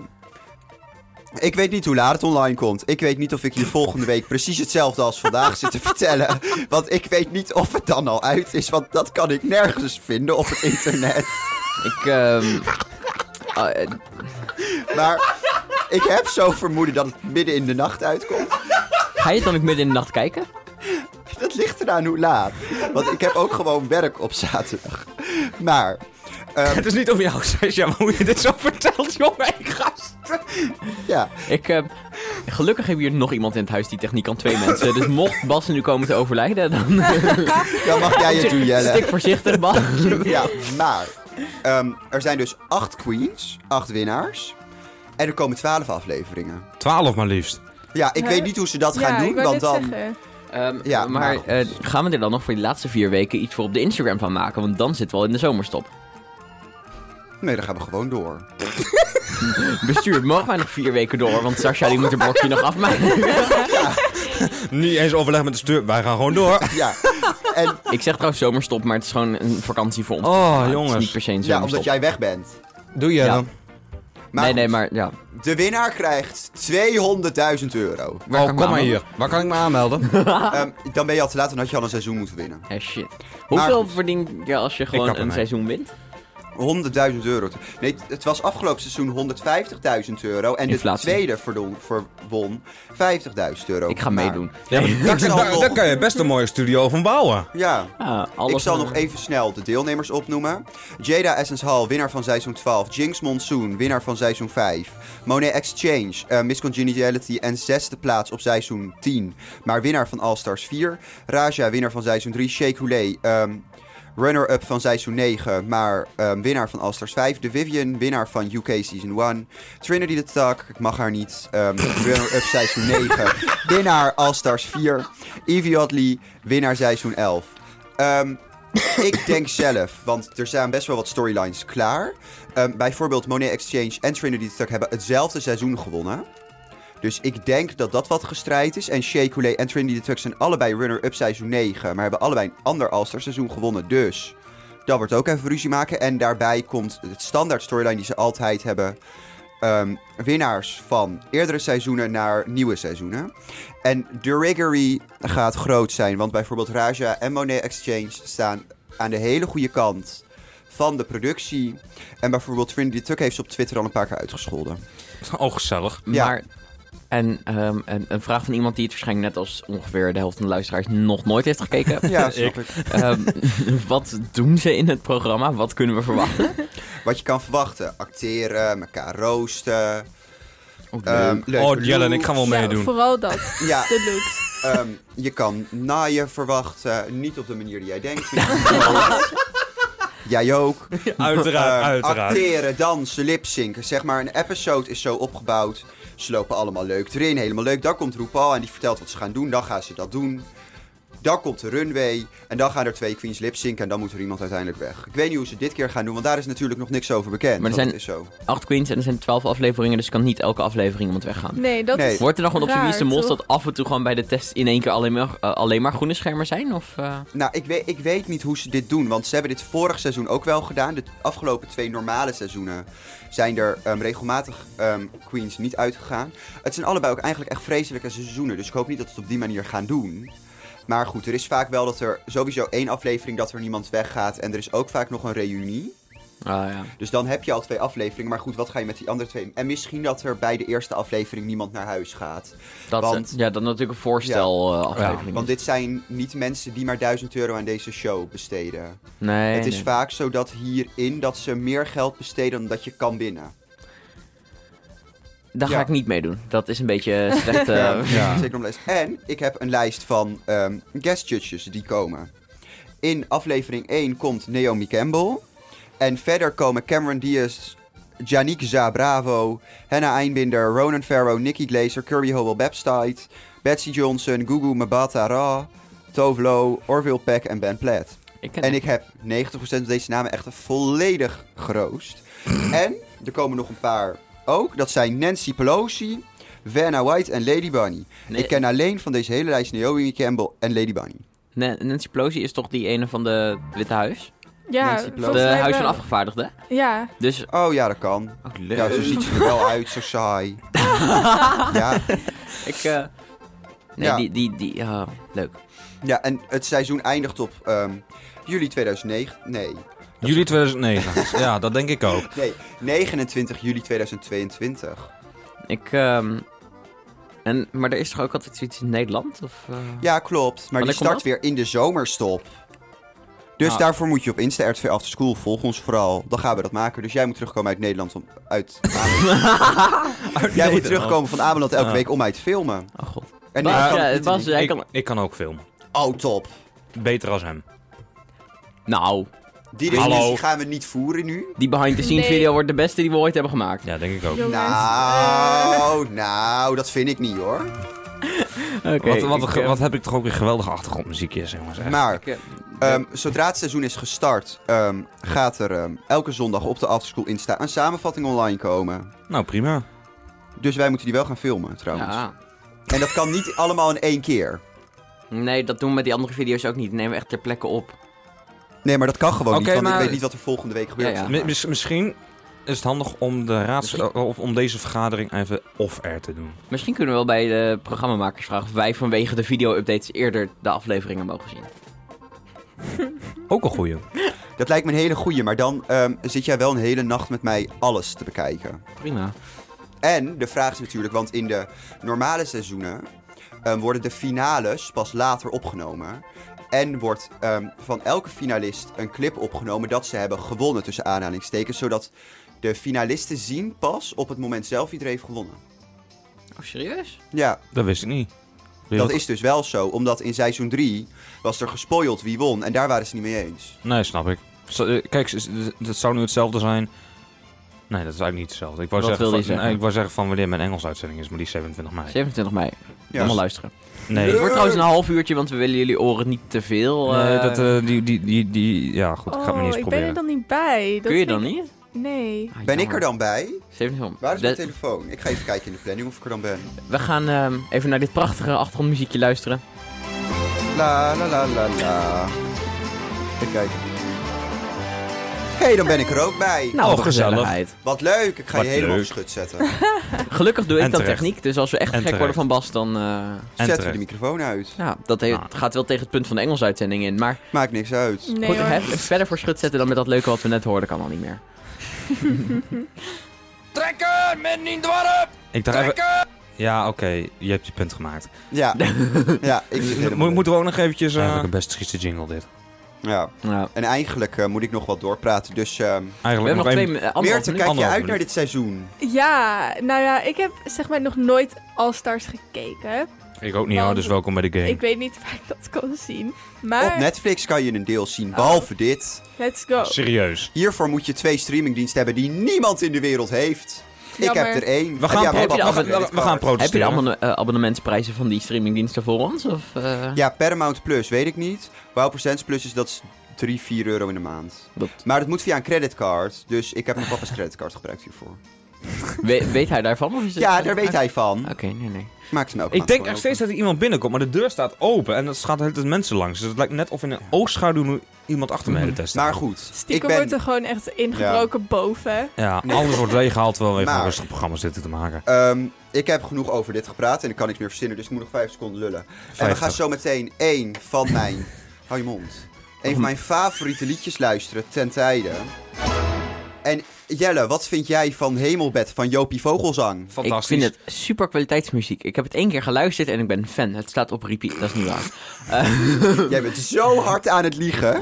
S3: ik weet niet hoe laat het online komt. Ik weet niet of ik hier volgende week precies hetzelfde als vandaag zit te vertellen. Want ik weet niet of het dan al uit is, want dat kan ik nergens vinden op het internet.
S5: Ik, ehm, ah, eh,
S3: Maar ik heb zo vermoeden dat het midden in de nacht uitkomt.
S5: ga je het dan ook midden in de nacht kijken?
S3: Dat ligt eraan hoe laat. Want ik heb ook gewoon werk op zaterdag. Maar
S1: Het is niet over jou, Sascha, maar hoe je dit zo vertelt, jongen. Ik ga...
S3: ja,
S5: Ik, eh, gelukkig hebben we hier nog iemand in het huis die techniek kan. Twee mensen. Dus mocht Bas nu komen te overlijden, dan
S3: dan mag jij het doen, Jelle.
S5: stik voorzichtig, Bas.
S3: Ja, maar ehm, er zijn dus acht queens, acht winnaars. En er komen twaalf afleveringen.
S1: Twaalf maar liefst.
S3: Ja, ik
S4: Ja.
S3: weet niet hoe ze dat
S4: ja,
S3: gaan
S4: ik
S3: doen,
S4: wou
S3: want
S4: net
S3: dan...
S4: zeggen.
S5: Ehm,
S3: Ja, maar
S5: maar
S3: goed.
S5: eh, gaan we er dan nog voor die laatste vier weken iets voor op de Instagram van maken? Want dan zitten we al in de zomerstop.
S3: Nee, dan gaan we gewoon door.
S5: Bestuur, mogen wij nog vier weken door? Want Sascha die moet er blokje nog afmaken.
S1: Niet eens overleg met de stuur. Wij gaan gewoon door.
S3: Ja, en
S5: Ik zeg trouwens zomerstop, maar het is gewoon een vakantie voor ons.
S1: Oh,
S5: Maar Het is niet
S1: jongens.
S5: per se een
S3: ja,
S5: zomerstop.
S3: omdat jij weg bent.
S1: Doe je
S5: Ja.
S1: dan?
S3: Maar
S5: nee, nee,
S3: goed,
S5: maar ja.
S3: de winnaar krijgt 200.000 euro.
S5: Waar
S1: Oh,
S5: kan ik
S1: kom
S5: me
S1: maar
S5: aan-
S1: hier. Waar kan ik me aanmelden?
S5: Ah.
S3: Ehm, dan ben je al te laat, dan had je al een seizoen moeten winnen.
S5: Eh, shit. Hoeveel
S3: goed.
S5: verdien je als je
S1: kap
S5: gewoon een
S1: ermee.
S5: seizoen wint?
S3: 100.000 euro. Nee, het- het was afgelopen seizoen 150.000 euro. En
S5: Inflatie.
S3: de tweede verdon, verwon 50.000 euro.
S5: Ik ga
S3: Maar-
S5: meedoen.
S1: Ja, maar daar,
S3: zal
S1: daar-
S3: nog-
S1: daar kan je best een mooie studio van bouwen.
S3: Ja.
S5: Ja, Ah, alles
S3: ik zal
S5: maar-
S3: nog even snel de deelnemers opnoemen. Jada Essence Hall, winnaar van seizoen 12. Jinx Monsoon, winnaar van seizoen 5. Monet Exchange, eh Miss Congeniality en zesde plaats op seizoen 10. Maar winnaar van All Stars 4. Raja, winnaar van seizoen 3. Shake Houlet, ehm, runner-up van seizoen 9. Maar ehm, winnaar van All Stars 5. De Vivian, winnaar van UK Season 1. Trinity the Tuck, ik mag haar niet. ehm, runner-up seizoen 9. Winnaar All Stars 4. Evie Oddly, winnaar seizoen 11. Ehm, ik denk zelf, want er staan best wel wat storylines klaar. Ehm, bijvoorbeeld Monet Exchange en Trinity Tuck hebben hetzelfde seizoen gewonnen. Dus ik denk dat dat wat gestrijd is. En Shea Coulee en Trinity Tuck zijn allebei runner-up seizoen 9. Maar hebben allebei een ander All-Star seizoen gewonnen. Dus dat wordt ook even ruzie maken. En daarbij komt het standaard storyline die ze altijd hebben. Ehm, winnaars van eerdere seizoenen naar nieuwe seizoenen. En de Riggery gaat groot zijn. Want bijvoorbeeld Raja en Monet Exchange staan aan de hele goede kant van de productie. En bijvoorbeeld Trinity Tuck heeft ze op Twitter al een paar keer uitgescholden.
S1: Oh, gezellig.
S3: Ja.
S5: Maar, en ehm, een, een vraag van iemand die het waarschijnlijk net als ongeveer de helft van de luisteraars nog nooit heeft gekeken.
S3: Ja, snap ik.
S5: Ehm, wat doen ze in het programma? Wat kunnen we verwachten?
S3: Wat je kan verwachten. Acteren, elkaar roosten. ehm, leuke
S1: Oh, Jelle en ik gaan wel
S4: Ja,
S1: meedoen.
S4: vooral dat,
S3: looks. Ja,
S4: de looks.
S3: ehm, je kan naaien verwachten. Niet op de manier die jij denkt. jij ook.
S1: Uiteraard,
S3: Eh,
S1: uiteraard.
S3: Acteren, dansen, lipzinken. Zeg maar, een episode is zo opgebouwd. Ze lopen allemaal leuk erin, helemaal leuk. Dan komt RuPaul en die vertelt wat ze gaan doen. Dan gaan ze dat doen. Dan komt de runway. En dan gaan er twee queens lip synken. En dan moet er iemand uiteindelijk weg. Ik weet niet hoe ze dit keer gaan doen. Want daar is natuurlijk nog niks over bekend.
S5: Maar
S3: want
S5: er zijn-
S3: het is zo.
S5: Acht queens en er zijn twaalf afleveringen, dus kan niet elke aflevering iemand weggaan.
S4: Nee, dat
S3: Nee.
S4: is...
S5: Wordt er nog wel op zijn
S4: Raar,
S5: Wie is de mos
S4: toch?
S5: dat af en toe gewoon bij de test in één keer alleen maar, eh, alleen maar groene schermen zijn? Of, eh?
S3: Nou, ik weet, ik weet niet hoe ze dit doen. Want ze hebben dit vorig seizoen ook wel gedaan. De afgelopen twee normale seizoenen zijn er ehm, regelmatig ehm, queens niet uitgegaan. Het zijn allebei ook eigenlijk echt vreselijke seizoenen. Dus ik hoop niet dat ze het op die manier gaan doen. Maar goed, er is vaak wel dat er sowieso één aflevering dat er niemand weggaat. En er is ook vaak nog een reunie.
S5: Ah, ja.
S3: Dus dan heb je al twee afleveringen. Maar goed, wat ga je met die andere twee? En misschien dat er bij de eerste aflevering niemand naar huis gaat.
S5: Dat,
S3: Want-
S5: eh, ja, dat natuurlijk een voorstel eh, aflevering.
S3: Want
S5: is.
S3: dit zijn niet mensen die maar 1000 euro aan deze show besteden.
S5: nee,
S3: Het is
S5: nee.
S3: vaak zo dat hierin dat ze meer geld besteden dan dat je kan winnen.
S5: Daar
S3: ja.
S5: ga ik niet mee doen. Dat is een beetje slecht. eh,
S3: Ja. Zeker om les. En ik heb een lijst van ehm guest judges die komen. In aflevering 1 komt Naomi Campbell. En verder komen Cameron Diaz, Yannick Zabravo, Hannah Einbinder, Ronan Farrow, Nikki Glaser, Kirby Howell Bapstide, Betsy Johnson, Gugu Mbatha Ra, Tove Lo, Orville Peck en Ben Platt.
S5: ik ken
S3: En ik heb 90% van deze namen echt volledig geroost. en er komen nog een paar ook. Dat zijn Nancy Pelosi, Vanna White en Lady Bunny.
S5: Nee.
S3: Ik ken alleen van deze hele lijst Naomi Campbell en Lady Bunny.
S5: Na- Nancy Pelosi is toch die ene van de Witte Huis?
S4: Ja,
S3: Nancy Pelosi.
S4: volgens
S5: de
S4: mij
S5: Huis van
S4: wel.
S5: Afgevaardigden.
S4: Ja,
S5: Dus...
S3: Oh ja, dat kan.
S5: Oh, leuk.
S3: Ja, zo ziet ze er wel uit, zo saai. ja.
S5: Ik, eh, Nee,
S3: Ja.
S5: die... die, die oh, leuk.
S3: ja, en het seizoen eindigt op ehm, juli 2009. Nee.
S1: Juli 2009. ja, dat denk ik ook.
S3: nee, 29 juli 2022.
S5: Ik... ehm, en, maar er is toch ook altijd zoiets in Nederland? Of, eh?
S3: Ja, klopt. Maar
S5: Wanneer
S3: die
S5: komt
S3: start
S5: dat?
S3: weer in de zomerstop. Dus
S5: Ah.
S3: daarvoor moet je op Insta RTV After School. Volg ons vooral. Dan gaan we dat maken. Dus jij moet terugkomen uit Nederland. Om, uit Ameland. jij moet terugkomen van Ameland elke
S1: Ah.
S3: week om mij te filmen.
S5: Oh god.
S3: En
S5: Bas,
S3: ik kan
S5: ja,
S3: het niet
S5: Bas,
S3: doen.
S5: jij
S1: ik,
S5: kan...
S1: ik kan ook filmen.
S3: Oh, top.
S1: Beter als hem.
S5: Nou,
S3: Die
S1: Hallo.
S3: discussie gaan we niet voeren nu.
S5: die behind the scenes
S4: Nee.
S5: video wordt de beste die we ooit hebben gemaakt.
S1: Ja, denk ik ook.
S4: jongens.
S3: Nou, nou, dat vind ik niet hoor.
S5: Oké.
S1: wat, wat,
S5: ik,
S1: ge-
S5: eh,
S1: wat heb ik toch ook weer geweldige achtergrondmuziekjes, jongens. echt.
S3: Maar
S5: ik, eh,
S3: Ehm, zodra het seizoen is gestart, ehm, gaat er ehm, elke zondag op de After School Insta een samenvatting online komen.
S1: Nou, prima.
S3: Dus wij moeten die wel gaan filmen trouwens.
S5: ja.
S3: En dat kan niet allemaal in één keer.
S5: Nee, dat doen we met die andere video's ook niet. Die nemen we echt ter plekke op.
S3: Nee, maar dat kan gewoon
S1: Oké,
S3: niet, want ik
S1: maar-
S3: weet niet wat er volgende week gebeurt.
S5: Ja, ja.
S1: Mi- mis- misschien is het handig om, de raads,
S5: Misschien-
S1: of om deze vergadering even off-air te doen.
S5: Misschien kunnen we wel bij de programmamakers vragen of wij vanwege de video-updates eerder de afleveringen mogen zien.
S1: Ook een goeie.
S3: Dat lijkt me een hele goeie, maar dan ehm, zit jij wel een hele nacht met mij alles te bekijken.
S5: Prima.
S3: En de vraag is natuurlijk, want in de normale seizoenen ehm, worden de finales pas later opgenomen. En wordt ehm, van elke finalist een clip opgenomen dat ze hebben gewonnen tussen aanhalingstekens. Zodat de finalisten zien pas op het moment zelf wie er heeft gewonnen.
S5: Oh, serieus?
S3: Ja,
S1: Dat wist ik niet. Wil je
S3: dat is dus wel zo. Omdat in seizoen 3 was er gespoild wie won en daar waren ze niet mee eens.
S1: Nee, snap ik. Zo- eh, Kijk, z- z- dat zou nu hetzelfde zijn. Nee, dat is eigenlijk niet hetzelfde. Ik wou,
S5: Wat
S1: zeggen van,
S5: wilde je zeggen?
S1: nee, ik wou zeggen van wanneer mijn Engels uitzending is, maar die is 27 mei.
S5: 27 mei.
S3: Ja.
S5: Allemaal luisteren.
S1: Nee,
S5: Het wordt trouwens een half uurtje, want we willen jullie oren niet te veel. eh,
S1: nee dat, eh, die, die, die, die, ja goed, ik ga het
S4: Oh,
S1: maar niet eens
S4: ik ben er
S1: proberen.
S4: dan niet bij. Dat
S5: Kun je
S4: vind
S5: dan
S4: ik-
S5: niet?
S4: Nee.
S5: Ah,
S3: Ben ik
S5: jammer.
S3: er dan bij?
S5: 27
S3: Waar is mijn
S5: Dat-
S3: telefoon? Ik ga even kijken in de planning of ik er dan ben.
S5: We gaan ehm, even naar dit prachtige achtergrondmuziekje luisteren.
S3: La la la la la. Even kijken. Hé, hey, dan ben ik er ook bij.
S5: Nou, wat
S1: Oh, gezellig.
S5: gezelligheid.
S3: Wat leuk, ik ga
S1: Wat
S3: je helemaal
S1: leuk.
S3: op schut zetten.
S5: Gelukkig doe ik
S1: En
S5: dan
S1: terecht.
S5: techniek, dus als we echt
S1: En
S5: gek worden
S1: terecht.
S5: van Bas, dan... eh,
S3: Zetten we
S1: terecht.
S3: de microfoon uit.
S5: ja, dat he-
S1: Nou.
S5: gaat wel tegen het punt van de Engels uitzending in, maar...
S3: Maakt niks uit.
S4: Nee
S5: Goed,
S4: hoor.
S5: hè, verder voor schut zetten dan met dat leuke wat we net hoorden kan al niet meer.
S7: Trekken met niet dwarp!
S1: Ik dacht even... Ja, oké, je hebt je punt gemaakt.
S3: Ja, ja ik zit
S1: Mo-
S3: helemaal...
S1: moeten we ook nog eventjes...
S10: Ja,
S1: eh,
S10: heb ik een
S1: best trieste jingle dit.
S3: Ja.
S5: Ja.
S3: En eigenlijk eh, moet ik nog wat doorpraten, dus... ehm
S5: We
S1: Eigenlijk
S5: hebben nog
S1: nog
S5: twee...
S1: één...
S5: eh, anderhalf
S3: Meerte,
S5: minuut.
S3: kijk je
S1: Anderhalf
S3: uit
S1: minuut.
S3: naar dit seizoen?
S4: Ja, nou ja, ik heb zeg maar nog nooit All-Stars gekeken.
S1: Ik ook niet hoor, dus welkom bij de game.
S4: Ik weet niet of ik dat kan zien.
S5: Eh.
S4: Maar,
S3: Op Netflix kan je een deel zien, behalve dit.
S4: let's go.
S1: Serieus.
S3: Hiervoor moet je twee streamingdiensten hebben die niemand in de wereld heeft. Ik heb
S4: Jammer.
S3: er één.
S1: We gaan,
S3: ja,
S1: pro-
S5: heb je
S1: we,
S5: de
S1: gaan-
S5: abonne-
S1: we gaan protesteren.
S5: Heb je de abonne- eh, abonnementsprijzen van die streamingdiensten voor ons? Of, eh,
S3: Ja, Paramount Plus, weet ik niet. Wow Percents Plus is dat is 3, 4 euro in de maand.
S5: dat-
S3: Maar dat moet via een creditcard. Dus ik heb mijn papa's creditcard gebruikt hiervoor.
S5: we- weet hij daarvan? Of is het-
S3: Ja, daar weet hij van.
S5: Oké, nee, nee.
S3: Maakt hem elke
S1: Ik
S3: maand
S1: denk
S3: gewoon
S1: echt steeds
S3: open.
S1: dat er iemand binnenkomt, maar de deur staat open en er gaat de hele tijd mensen langs. Dus het lijkt net of in een oogschaduw nu iemand achter
S5: Mhm.
S1: mij de test
S3: Maar goed, ik
S4: Stiekem
S3: ben...
S4: wordt er gewoon echt ingebroken boven.
S1: Ja, alles wordt leeggehaald terwijl we even
S3: Maar-
S1: een rustig programma zitten te maken.
S3: ehm, ik heb genoeg over dit gepraat en ik kan niks meer verzinnen, dus ik moet nog 5 seconden lullen. En we
S1: 50.
S3: gaan zo meteen één van mijn... Hou je mond. Een van mijn favoriete liedjes luisteren ten tijde. En Jelle, wat vind jij van Hemelbed van Jopie Vogelzang?
S5: Ik
S1: Fantastisch.
S5: vind het super kwaliteitsmuziek. Ik heb het één keer geluisterd en ik ben fan. Het staat op repeat, dat is niet waar.
S3: Jij bent zo hard aan het liegen.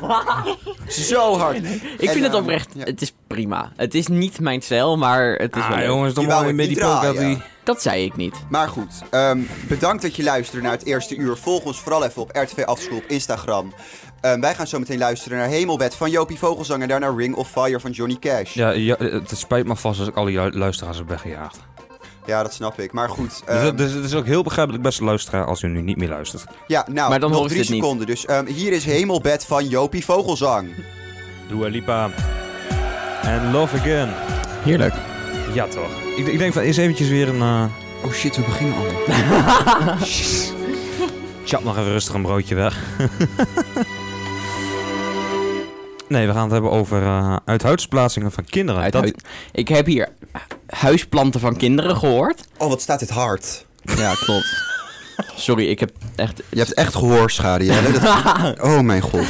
S3: zo hard.
S5: Ik
S3: En,
S5: vind het
S1: eh,
S3: ehm,
S5: oprecht,
S3: ja. Het
S5: het is prima. Het is niet mijn stijl, maar het is wel
S1: Ah,
S5: leuk.
S1: jongens, dan
S3: Die
S1: wou
S3: wou
S1: je
S3: ik
S1: met
S3: niet
S1: die pook dat
S3: draaien.
S1: die...
S5: Dat zei ik niet.
S3: Maar goed, ehm, bedankt dat je luisterde naar het eerste uur. Volg ons vooral even op RTV Afschool op Instagram. Ehm, wij gaan zo meteen luisteren naar Hemelbed van Jopie Vogelzang en daarna Ring of Fire van Johnny Cash. Ja,
S1: Ja, ja, het spijt me vast als ik al die lu- luisteraars heb weggejaagd.
S3: dat snap ik. Maar goed,
S1: Dus
S3: ehm,
S1: dat- dus het is ook heel begrijpelijk, beste luisteraar, als u nu niet meer luistert.
S3: ja, nou,
S5: Maar dan
S3: nog
S5: horen ze
S3: drie
S5: dit niet.
S3: seconden. Dus ehm, hier is Hemelbed van Jopie Vogelzang.
S1: Dua Lipa. En Love Again.
S2: Heerlijk.
S1: Ja, toch. Ik, ik denk van, eerst eventjes weer een... eh
S3: Oh shit, we beginnen al.
S1: Chap nog even rustig een broodje weg. nee, we gaan het hebben over eh uithuidsplaatsingen van kinderen.
S5: Uit
S1: Dat-
S5: hui- Ik heb hier huisplanten van kinderen gehoord.
S3: Oh, wat staat dit hard.
S5: Ja, klopt. Sorry, ik heb echt...
S3: Je hebt echt gehoorschade, Jelle. Dat- Oh mijn god.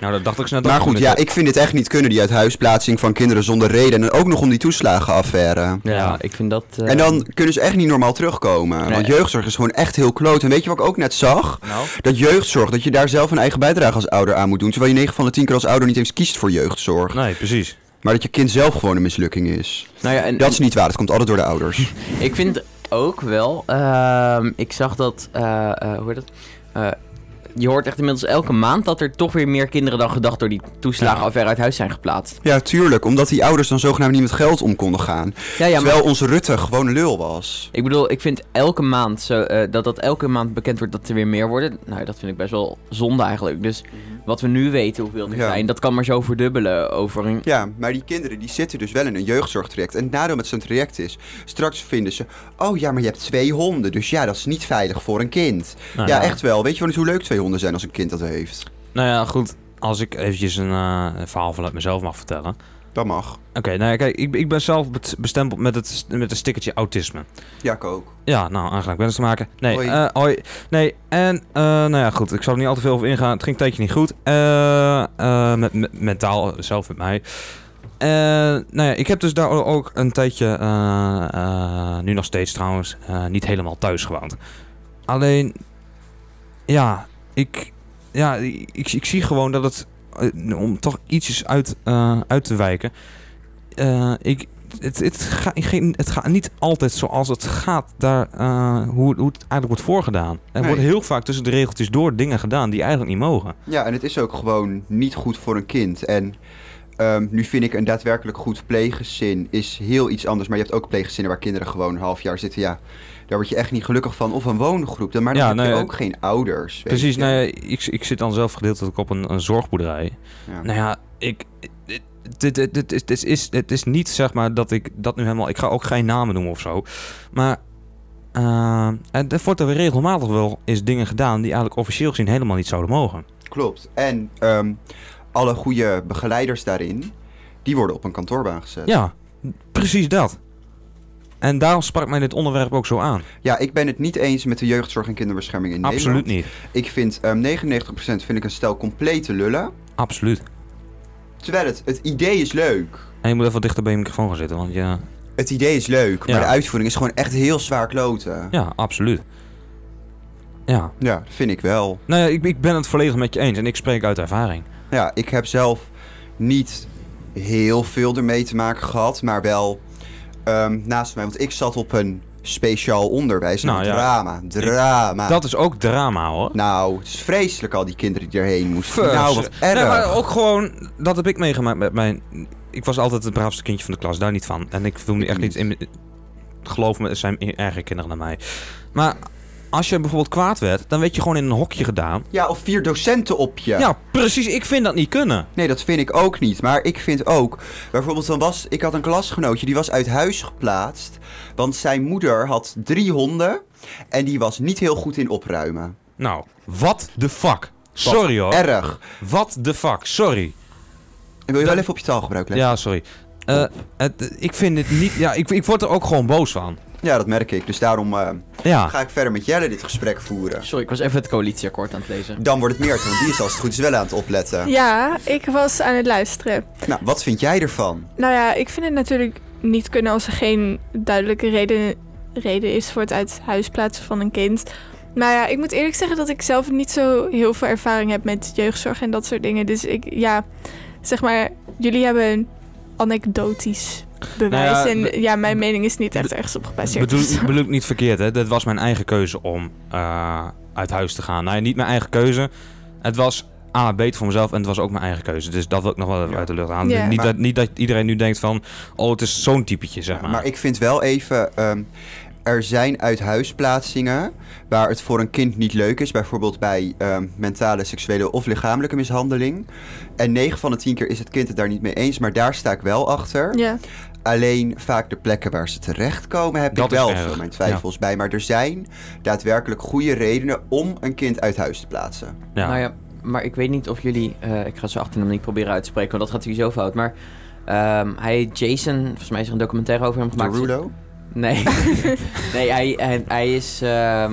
S1: Nou, dat dacht ik zo net
S3: Maar
S1: ook
S3: goed,
S1: met-
S3: ja, ik vind dit echt niet kunnen, die uithuisplaatsing van kinderen zonder reden. En ook nog om die toeslagenaffaire.
S1: Ja.
S5: Ja, ik vind dat... eh,
S3: En dan kunnen ze echt niet normaal terugkomen. Want jeugdzorg is gewoon echt heel kloot. En weet je wat ik ook net zag?
S1: Nou?
S3: Dat jeugdzorg, dat je daar zelf een eigen bijdrage als ouder aan moet doen. Terwijl je 9 van de 10 keer als ouder niet eens kiest voor jeugdzorg.
S1: Nee, precies.
S3: Maar dat je kind zelf gewoon een mislukking is.
S5: Nou ja, en,
S3: Dat is niet waar, het komt altijd door de ouders.
S5: Ik vind ook wel, ehm, ik zag dat, eh, eh, hoe heet dat? Eh, je hoort echt inmiddels elke maand dat er toch weer meer kinderen dan gedacht door die toeslagenaffaire uit huis zijn geplaatst.
S3: Ja, tuurlijk, omdat die ouders dan zogenaamd niet met geld om konden gaan.
S5: Ja, ja, maar
S3: Terwijl onze Rutte gewoon een lul was.
S5: ik bedoel, ik vind elke maand zo, eh, dat dat elke maand bekend wordt dat er weer meer worden. Nou, dat vind ik best wel zonde eigenlijk. Dus wat we nu weten hoeveel er
S3: Ja.
S5: zijn, dat kan maar zo verdubbelen over een...
S3: Ja, maar die kinderen die zitten dus wel in een jeugdzorgtraject. En het nadeel met zo'n traject is, straks vinden ze... Oh ja, maar je hebt twee honden, dus ja, dat is niet veilig voor een kind.
S5: Ah,
S1: Nou,
S3: ja, echt wel. Weet je wel niet hoe leuk twee honden zijn als een kind dat heeft?
S1: Nou ja, goed. Als ik eventjes een eh, verhaal vanuit mezelf mag vertellen.
S3: Dat mag.
S1: Oké, nou ja, kijk, ik, ik ben zelf bet- bestempeld met het, met een stickertje autisme.
S3: Ja, ik ook.
S1: Ja, nou, aangenaam kennis te maken. Nee,
S3: Hoi.
S1: hoi. hoi. Nee, en, eh, nou ja, goed, ik zal er niet al te veel over ingaan. Het ging een tijdje niet goed. Eh, eh, met, met- mentaal, zelf met mij. En, nou ja, ik heb dus daar ook een tijdje, eh, eh, nu nog steeds trouwens, eh, niet helemaal thuis gewoond. Alleen, ja, ik, ja, ik, ik, ik zie gewoon dat het, eh, om toch ietsjes uit, eh, uit te wijken, eh, ik, het, het, ga- geen, het gaat niet altijd zoals het gaat, daar, eh, hoe, hoe het eigenlijk wordt voorgedaan. Er
S3: Nee.
S1: worden heel vaak tussen de regeltjes door dingen gedaan die eigenlijk niet mogen.
S3: Ja, en het is ook gewoon niet goed voor een kind. En ehm, nu vind ik een daadwerkelijk goed pleeggezin is heel iets anders. Maar je hebt ook pleeggezinnen waar kinderen gewoon een half jaar zitten. Ja, daar word je echt niet gelukkig van. Of een woongroep. Dan, maar dan
S1: Ja,
S3: heb je
S1: nee,
S3: ook geen ouders. weet
S1: Precies,
S3: je.
S1: nou ja, ik, ik zit dan zelf gedeeltelijk op een, een zorgboerderij.
S3: Ja.
S1: Nou ja, ik. dit- Dit, dit, dit, is- dit is, het is niet zeg maar dat ik dat nu helemaal. Ik ga ook geen namen noemen of zo. Maar. eh, en er wordt er weer regelmatig wel eens dingen gedaan die eigenlijk officieel gezien helemaal niet zouden mogen.
S3: Klopt. En ehm, alle goede begeleiders daarin, die worden op een kantoorbaan gezet.
S1: Ja, precies dat. En daarom sprak mij dit onderwerp ook zo aan.
S3: Ja, ik ben het niet eens met de jeugdzorg en kinderbescherming in
S1: Absoluut
S3: Nederland.
S1: niet.
S3: Ik vind ehm 99% vind ik een stel complete lullen.
S1: Absoluut.
S3: Terwijl het, het idee is leuk.
S1: En je moet even wat dichter bij je microfoon gaan zitten, want ja,
S3: Het idee is leuk, maar
S1: Ja.
S3: de uitvoering is gewoon echt heel zwaar kloten.
S1: ja absoluut. Ja.
S3: Ja, vind ik wel.
S1: Nou ja, ik, ik ben het volledig met je eens en ik spreek uit ervaring.
S3: Ja, ik heb zelf niet heel veel ermee te maken gehad, maar wel ehm, naast mij. Want ik zat op een speciaal onderwijs.
S1: Nou
S3: Nou,
S1: ja.
S3: Drama, drama.
S1: Dat is ook drama hoor.
S3: Nou, het is vreselijk al die kinderen die erheen moesten. Nou, wat
S1: Nee,
S3: erg.
S1: maar ook gewoon, dat heb ik meegemaakt met mijn ik was altijd het braafste kindje van de klas, daar niet van. En ik wil nu echt niet in. Geloof me, er zijn erger kinderen dan mij. Maar als je bijvoorbeeld kwaad werd, dan werd je gewoon in een hokje gedaan.
S3: Ja, of vier docenten op je.
S1: Ja, precies. Ik vind dat niet kunnen.
S3: Nee, dat vind ik ook niet. Maar ik vind ook, bijvoorbeeld, dan was, ik had een klasgenootje die was uit huis geplaatst. Want zijn moeder had drie honden en die was niet heel goed in opruimen.
S1: Nou, what the fuck? Sorry hoor.
S3: Erg.
S1: What the fuck? Sorry.
S3: En wil je wel even op je taalgebruik letten?
S1: Ja, sorry. Eh, het- ik vind het niet. Ja, ik, ik word er ook gewoon boos van.
S3: Ja, dat merk ik. Dus daarom eh,
S1: Ja.
S3: ga ik verder met Jelle dit gesprek voeren.
S5: Sorry, ik was even het coalitieakkoord aan het lezen.
S3: Dan wordt het meer, want die is als het goed is wel aan het opletten.
S4: Ja, ik was aan het luisteren.
S3: Nou, wat vind jij ervan?
S4: Nou ja, ik vind het natuurlijk niet kunnen als er geen duidelijke reden, reden is voor het uit huis plaatsen van een kind. Maar ja, ik moet eerlijk zeggen dat ik zelf niet zo heel veel ervaring heb met jeugdzorg en dat soort dingen. Dus ik, ja, zeg maar, jullie hebben een anekdotisch bewijs.
S1: Nou ja,
S4: en
S1: be-
S4: ja, mijn mening is niet echt ergens op gebaseerd.
S1: Bedoel, bedoel ik niet verkeerd, hè? Dat was mijn eigen keuze om eh, uit huis te gaan. Nou, ja, niet mijn eigen keuze. Het was A, beter voor mezelf en het was ook mijn eigen keuze. Dus dat wil ik nog wel even
S3: Ja.
S1: uit de lucht aan.
S4: Ja.
S1: Niet,
S3: Maar-
S1: dat, niet dat iedereen nu denkt van, oh, het is zo'n typetje, zeg maar.
S3: Maar ik vind wel even. ehm, er zijn uithuisplaatsingen waar het voor een kind niet leuk is. Bijvoorbeeld bij ehm, mentale, seksuele of lichamelijke mishandeling. En 9 van de 10 keer is het kind het daar niet mee eens. Maar daar sta ik wel achter.
S4: Ja,
S3: Alleen vaak de plekken waar ze terechtkomen heb
S1: Dat
S3: ik
S1: is
S3: wel
S1: erg,
S3: veel mijn twijfels bij. Maar er zijn daadwerkelijk goede redenen om een kind uit huis te plaatsen.
S1: ja.
S5: Nou ja, maar ik weet niet of jullie... eh, ik ga zijn achternaam niet proberen uit te spreken, want dat gaat sowieso fout. Maar ehm, hij heet Jason, volgens mij is er een documentaire over hem gemaakt.
S3: Derulo?
S5: Nee. nee, hij, hij, hij is... ehm,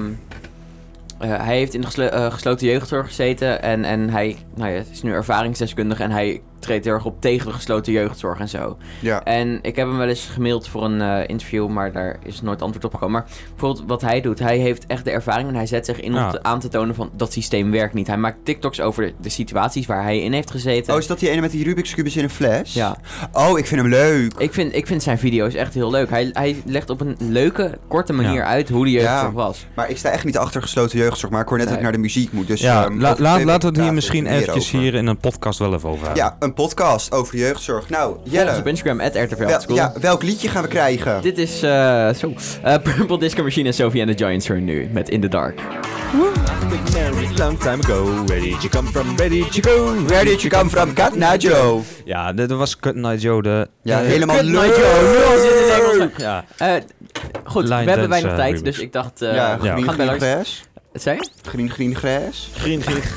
S5: eh, hij heeft in de geslo- eh, gesloten jeugdzorg gezeten en, en hij nou ja, is nu ervaringsdeskundige en hij treedt heel erg op tegen de gesloten jeugdzorg en zo.
S3: Ja.
S5: En ik heb hem wel eens gemaild voor een eh, interview, maar daar is nooit antwoord op gekomen. Maar bijvoorbeeld wat hij doet, hij heeft echt de ervaring en hij zet zich in
S1: Ja.
S5: om te- aan te tonen van dat systeem werkt niet. Hij maakt TikToks over de, de situaties waar hij in heeft gezeten.
S3: Oh, is dat die ene met die Rubik's kubus in een fles?
S5: Ja,
S3: Oh, ik vind hem leuk.
S5: ik vind, ik vind zijn video's echt heel leuk. Hij, hij legt op een leuke, korte manier
S1: Ja.
S5: uit hoe die jeugdzorg
S3: Ja.
S5: was.
S3: Maar ik sta echt niet achter gesloten jeugdzorg, maar ik hoor net dat
S5: Nee.
S3: ik naar de muziek moet. Dus,
S1: ja,
S3: ehm,
S1: la-
S3: over
S1: laat- laten
S3: twee
S1: we het
S3: weken
S1: hier
S3: praten
S1: misschien
S3: we meer
S1: eventjes
S3: over.
S1: hier in een podcast wel even over hebben.
S3: Ja, een podcast over jeugdzorg. Nou,
S5: Volg ons op
S3: Jelle,
S5: Instagram, at RTL
S3: wel-
S5: School.
S3: ja, welk liedje gaan we krijgen?
S5: Dit is eh, zo, eh, Purple Disco Machine en Sophie and the Giants Turn nu met In the Dark.
S3: long time ago, where did you come from, where did you go, where did you come from, Cat Joe.
S1: Ja, dit was Cut Night Joe de...
S3: Ja,
S1: eh,
S3: helemaal
S5: Good night,
S3: leuk.
S5: Joe. Nul zit in Nederland.
S1: Ja.
S5: Eh, goed,
S1: Line
S5: we hebben
S1: dance,
S5: weinig
S1: eh,
S5: tijd,
S1: remix.
S5: dus ik dacht... eh,
S3: ja,
S5: we
S3: green,
S5: gaan bij
S3: green
S5: langs.
S3: gras.
S5: Wat zei je?
S3: Green, green gras.
S1: Green, green.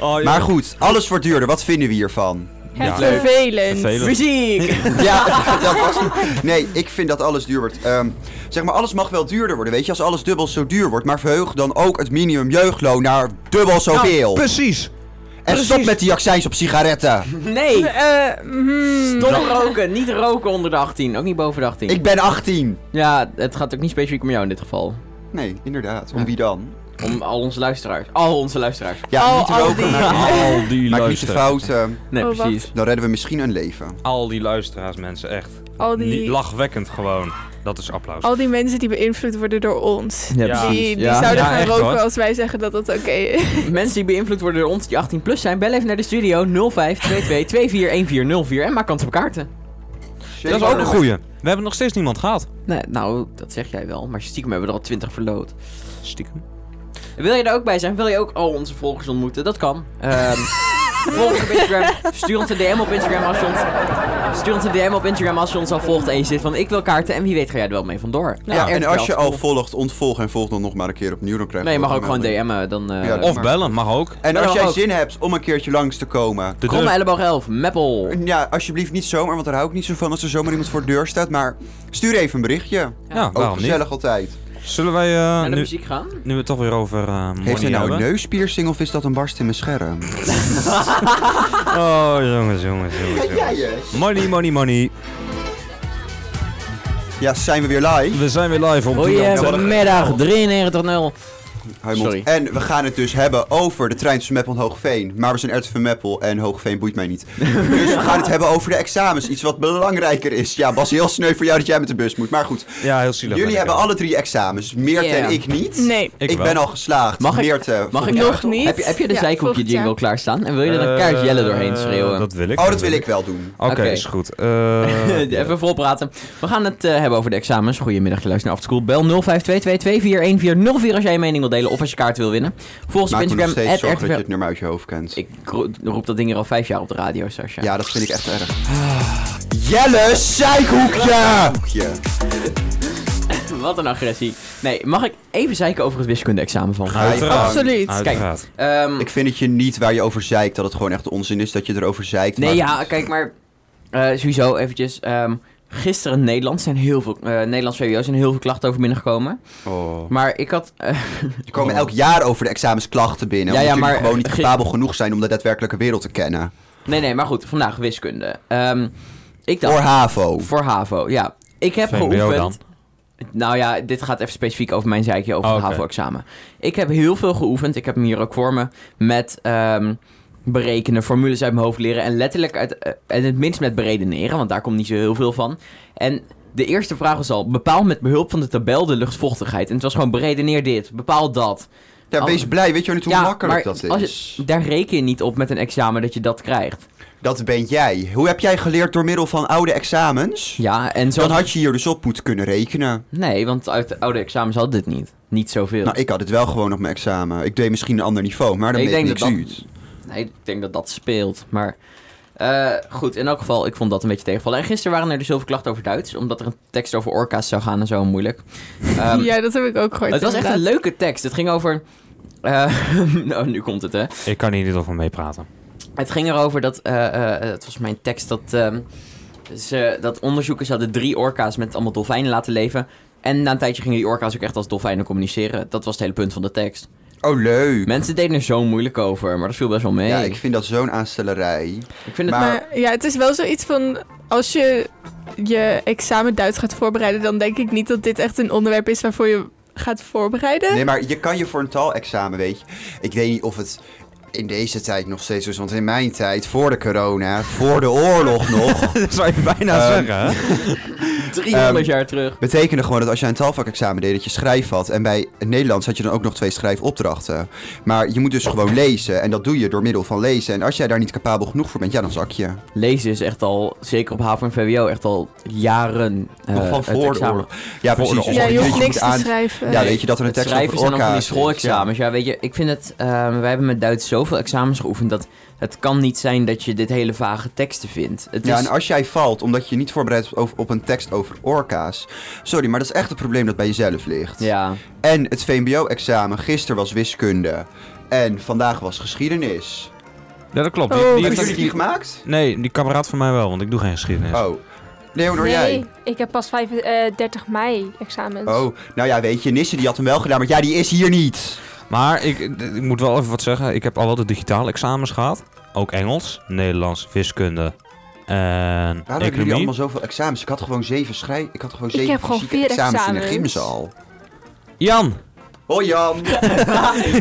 S1: Oh, ja.
S3: Maar goed, alles wordt duurder. Wat vinden we hiervan?
S1: Ja.
S4: het vervelend.
S1: Vervelend.
S5: Muziek!
S3: Ja, dat was Nee, ik vind dat alles duur wordt. Ehm, zeg maar, alles mag wel duurder worden, weet je? Als alles dubbel zo duur wordt. Maar verheug dan ook het minimum jeugdloon naar dubbel zoveel.
S1: Precies.
S3: en stop
S1: precies.
S3: met die accijns op sigaretten.
S5: Nee!
S4: Eh, hmm.
S5: Stop roken! Niet roken onder de 18, ook niet boven de 18.
S3: Ik ben 18.
S5: Ja, het gaat ook niet specifiek om jou in dit geval.
S3: Nee, inderdaad. Om wie dan?
S5: Om al onze luisteraars. Al onze luisteraars.
S3: Ja,
S4: Al-
S3: niet
S4: al
S3: roken.
S4: die-
S3: Maak,
S1: Al die
S3: maak niet de
S1: luisteraars.
S3: fouten.
S5: Nee,
S4: Oh,
S5: precies.
S3: Dan redden we misschien een leven.
S1: Al die luisteraars, mensen, echt.
S4: al,
S1: Niet
S4: die,
S1: lachwekkend gewoon. Dat is applaus.
S4: al die mensen die beïnvloed worden door ons.
S5: Ja,
S1: Ja.
S4: Die,
S5: precies.
S4: die
S5: Ja.
S4: zouden
S1: Ja,
S4: gaan
S1: echt,
S4: roken
S1: hoor.
S4: als wij zeggen dat dat oké is.
S5: Mensen die beïnvloed worden door ons die 18 plus zijn, bel even naar de studio 0522 241404 en maak kans op kaarten.
S1: Dat is ook een goeie. We hebben nog steeds niemand gehad.
S5: Nee, nou, dat zeg jij wel, maar stiekem hebben we er al 20 verloot.
S1: Stiekem.
S5: Wil je er ook bij zijn? Wil je ook al onze volgers ontmoeten? Dat kan. Ehm, volg ons op Instagram. Stuur ons een DM op Instagram als je ons... Stuur ons een DM op Instagram als je ons al volgt en je zit van ik wil kaarten en wie weet ga jij er wel mee vandoor.
S3: Ja, en
S5: RTL
S3: als je al
S5: School.
S3: volgt, ontvolg en volg dan nog maar een keer opnieuw. Dan krijg
S5: Nee, je mag
S3: een
S5: ook gewoon
S3: melding.
S5: DM'en. Dan, eh
S3: Ja, dat-
S1: Of bellen, mag ook.
S3: En
S5: Maar
S3: als
S5: dan
S3: jij
S5: ook.
S3: zin hebt om een keertje langs te komen.
S1: De
S5: Kromme
S1: deur-
S5: elleboog 11, Meppel.
S3: Ja, alsjeblieft niet zomaar, want daar hou ik niet zo van als er zomaar iemand voor de deur staat. Maar stuur even een berichtje.
S1: Ja, Nou,
S3: Ook
S1: waarom
S3: gezellig
S1: niet?
S3: altijd.
S1: Zullen wij, eh,
S5: Naar de
S1: nu,
S5: muziek gaan?
S1: nu we het toch weer over eh
S3: Heeft
S1: money
S3: hij nou een
S1: hebben.
S3: neuspiercing of is dat een barst in mijn scherm?
S1: Oh, jongens, jongens, jongens. jongens. Money, money, money.
S3: Ja, zijn we weer live?
S5: Oh,
S1: We zijn weer live op Doe Dan Verder.
S5: Goedemiddag, 93-0.
S3: Huimond.
S5: Sorry.
S3: En we gaan het dus hebben over de trein tussen Meppel en Hoogveen. Maar we zijn van Meppel en Hoogveen boeit mij niet. dus we gaan het hebben over de examens. Iets wat belangrijker is. Ja, Bas, heel sneu voor jou dat jij met de bus moet. Maar goed,
S1: Ja, heel zielig.
S3: jullie
S1: ben ik
S3: hebben
S1: ook.
S3: alle drie examens. Meert
S5: Ja.
S3: en ik niet.
S4: Nee.
S3: Ik,
S1: Ik wel.
S3: ben al geslaagd.
S5: Mag ik-
S3: Meert, eh,
S5: Mag ik
S3: volgend
S4: Nog
S3: jaar.
S4: niet.
S5: Heb je, heb je de
S4: Ja,
S5: zijkopje
S4: volgend jaar.
S5: jingle klaarstaan? En wil je er een kaart
S1: Eh,
S5: Jelle doorheen schreeuwen?
S1: Dat wil ik.
S3: Oh, dat wil ik wel doen.
S1: Oké,
S5: Oké.
S1: is goed. Eh,
S5: Even volpraten. We gaan het eh, hebben over de examens. Goedemiddag, je luistert naar After School. Bel 0522241104 als jij je mening wilt delen of als je kaart wil winnen. Volg ons op
S3: Maak me nog
S5: Instagram.
S3: steeds
S5: at
S3: zorgen dat je
S5: RTL.
S3: het nummer uit je hoofd kent.
S5: Ik ro- roep dat ding hier al vijf jaar op de radio, Sascha.
S3: Ja, dat vind ik echt erg.
S5: Ah,
S3: Jelle, zeikhoekje! Hoekje.
S5: Wat een agressie. Nee, mag ik even zeiken over het wiskunde-examen van?
S3: Ga je gang.
S4: Absoluut.
S1: Uiteraard.
S5: Ehm,
S3: Ik vind het je niet waar je over zeikt, dat het gewoon echt onzin is dat je erover zeikt.
S5: nee,
S3: maar-
S5: ja, kijk maar. eh, sowieso eventjes. ehm, gisteren in Nederland zijn heel veel, eh Nederlands VWO's zijn heel veel klachten over binnengekomen.
S3: Oh.
S5: Maar ik had... eh,
S3: Er komen elk jaar over de examensklachten binnen.
S5: Ja,
S3: omdat
S5: ja,
S3: jullie
S5: maar- eh,
S3: gewoon niet
S5: ge-
S3: capabel genoeg zijn om de daadwerkelijke wereld te kennen.
S5: nee, nee, maar goed. Vandaag wiskunde. Ehm, ik dacht...
S3: Voor HAVO.
S5: Voor HAVO, ja. Ik heb
S1: VMBO
S5: geoefend...
S1: dan?
S5: Nou ja, dit gaat even specifiek over mijn zeikje over
S1: Oh,
S5: het
S1: oké.
S5: HAVO-examen. Ik heb heel veel geoefend. Ik heb hem hier ook voor me. Met ehm, berekenen, formules uit mijn hoofd leren. En letterlijk, uit, eh, en het minst met beredeneren. Want daar komt niet zo heel veel van. En de eerste vraag was al... Bepaal met behulp van de tabel de luchtvochtigheid. En het was gewoon beredeneer dit, bepaal dat.
S3: Ja, wees blij. Weet je wel niet hoe
S5: Oh. Ja,
S3: makkelijk
S5: maar
S3: dat
S5: als
S3: is?
S5: Daar reken je niet op met een examen dat je dat krijgt.
S3: Dat ben jij. Hoe heb jij geleerd door middel van oude examens?
S5: Ja, en zo...
S3: Dan had je hier dus op moeten kunnen rekenen.
S5: Nee, want uit de oude examens had dit niet. Niet zoveel.
S3: Nou, ik had het wel gewoon op mijn examen. Ik deed misschien een ander niveau, maar dan
S5: Ik
S3: deed ik
S5: denk
S3: niks
S5: dat dat-
S3: uit.
S5: Nee, ik denk dat dat speelt. Maar eh, goed, in elk geval, ik vond dat een beetje tegenvallen. En gisteren waren er dus heel veel klachten over Duits. Omdat er een tekst over orka's zou gaan en zo moeilijk. Ehm,
S4: ja, dat heb ik ook gehoord.
S5: het was echt een
S4: inderdaad.
S5: leuke tekst. Het ging over... eh, nou, nu komt het, hè.
S1: Ik kan hier niet over meepraten.
S5: Het ging erover dat... eh, eh, het was mijn tekst dat... ehm, ze, dat onderzoekers hadden drie orka's met allemaal dolfijnen laten leven. En na een tijdje gingen die orka's ook echt als dolfijnen communiceren. Dat was het hele punt van de tekst.
S3: Oh, leuk.
S5: Mensen deden er zo moeilijk over, maar dat viel best wel mee.
S3: Ja, ik
S5: ik,
S3: vind dat zo'n aanstellerij.
S5: vind het...
S3: maar-
S4: Maar ja, het is wel zoiets van... Als je je examen Duits gaat voorbereiden... dan denk ik niet dat dit echt een onderwerp is waarvoor je gaat voorbereiden.
S3: Nee, maar je kan je voor een taalexamen, weet je. Ik weet niet of het in deze tijd nog steeds zo is. Want in mijn tijd, voor de corona, voor de oorlog nog...
S1: dat zou je bijna
S3: Ehm,
S1: zeggen, hè?
S5: 300
S3: Ehm,
S5: jaar terug.
S3: betekende gewoon dat als je een taalvakexamen deed, dat je schrijf had. En bij het Nederlands had je dan ook nog twee schrijfopdrachten. Maar je moet dus gewoon lezen. En dat doe je door middel van lezen. En als jij daar niet capabel genoeg voor bent, ja, dan zak je.
S5: Lezen is echt al, zeker op HAVO en VWO, echt al jaren eh,
S3: nog van
S5: het
S3: voor de
S5: examen.
S3: oorlog. Ja,
S1: Voor de
S3: precies.
S1: oorlog.
S3: Dus
S4: ja,
S3: dat
S4: je hoeft
S3: moet
S4: niks te
S3: aan-
S4: schrijven.
S3: Ja, weet je dat er een
S5: Het
S3: tekst
S5: schrijven
S3: over
S5: zijn dan van
S3: orka's
S5: die
S3: is.
S5: schoolexamens. Ja, weet je, ik vind het... ehm, wij hebben met Duits zoveel examens geoefend dat het kan niet zijn dat je dit hele vage teksten vindt. Het
S3: Ja, nou,
S5: is,
S3: en als jij valt omdat je niet voorbereid bent op- op een tekst over orka's. Sorry, maar dat is echt het probleem dat bij jezelf ligt.
S5: ja,
S3: En het VMBO-examen, gisteren was wiskunde. En vandaag was geschiedenis.
S1: Ja, dat klopt.
S4: Oh,
S3: Hebben
S1: heeft
S3: jullie
S1: ook-
S3: die gemaakt?
S1: Nee, die kameraad van mij wel, want ik doe geen geschiedenis.
S3: Oh. Leonor, jij?
S10: ik heb pas 35 mei examens.
S3: Oh, nou ja, weet je, Nisse die had hem wel gedaan, maar ja, die is hier niet.
S1: Maar ik, ik moet wel even wat zeggen. Ik heb al wel de digitale examens gehad. Ook Engels, Nederlands, wiskunde en
S3: Waarom hebben jullie
S1: economie.
S3: allemaal zoveel examens? Ik had gewoon zeven schrij... Ik had gewoon zeven
S10: heb gewoon
S3: fysieke
S10: vier
S3: examens, in de
S10: examens.
S3: gymzaal.
S1: Jan!
S3: Hoi Jan.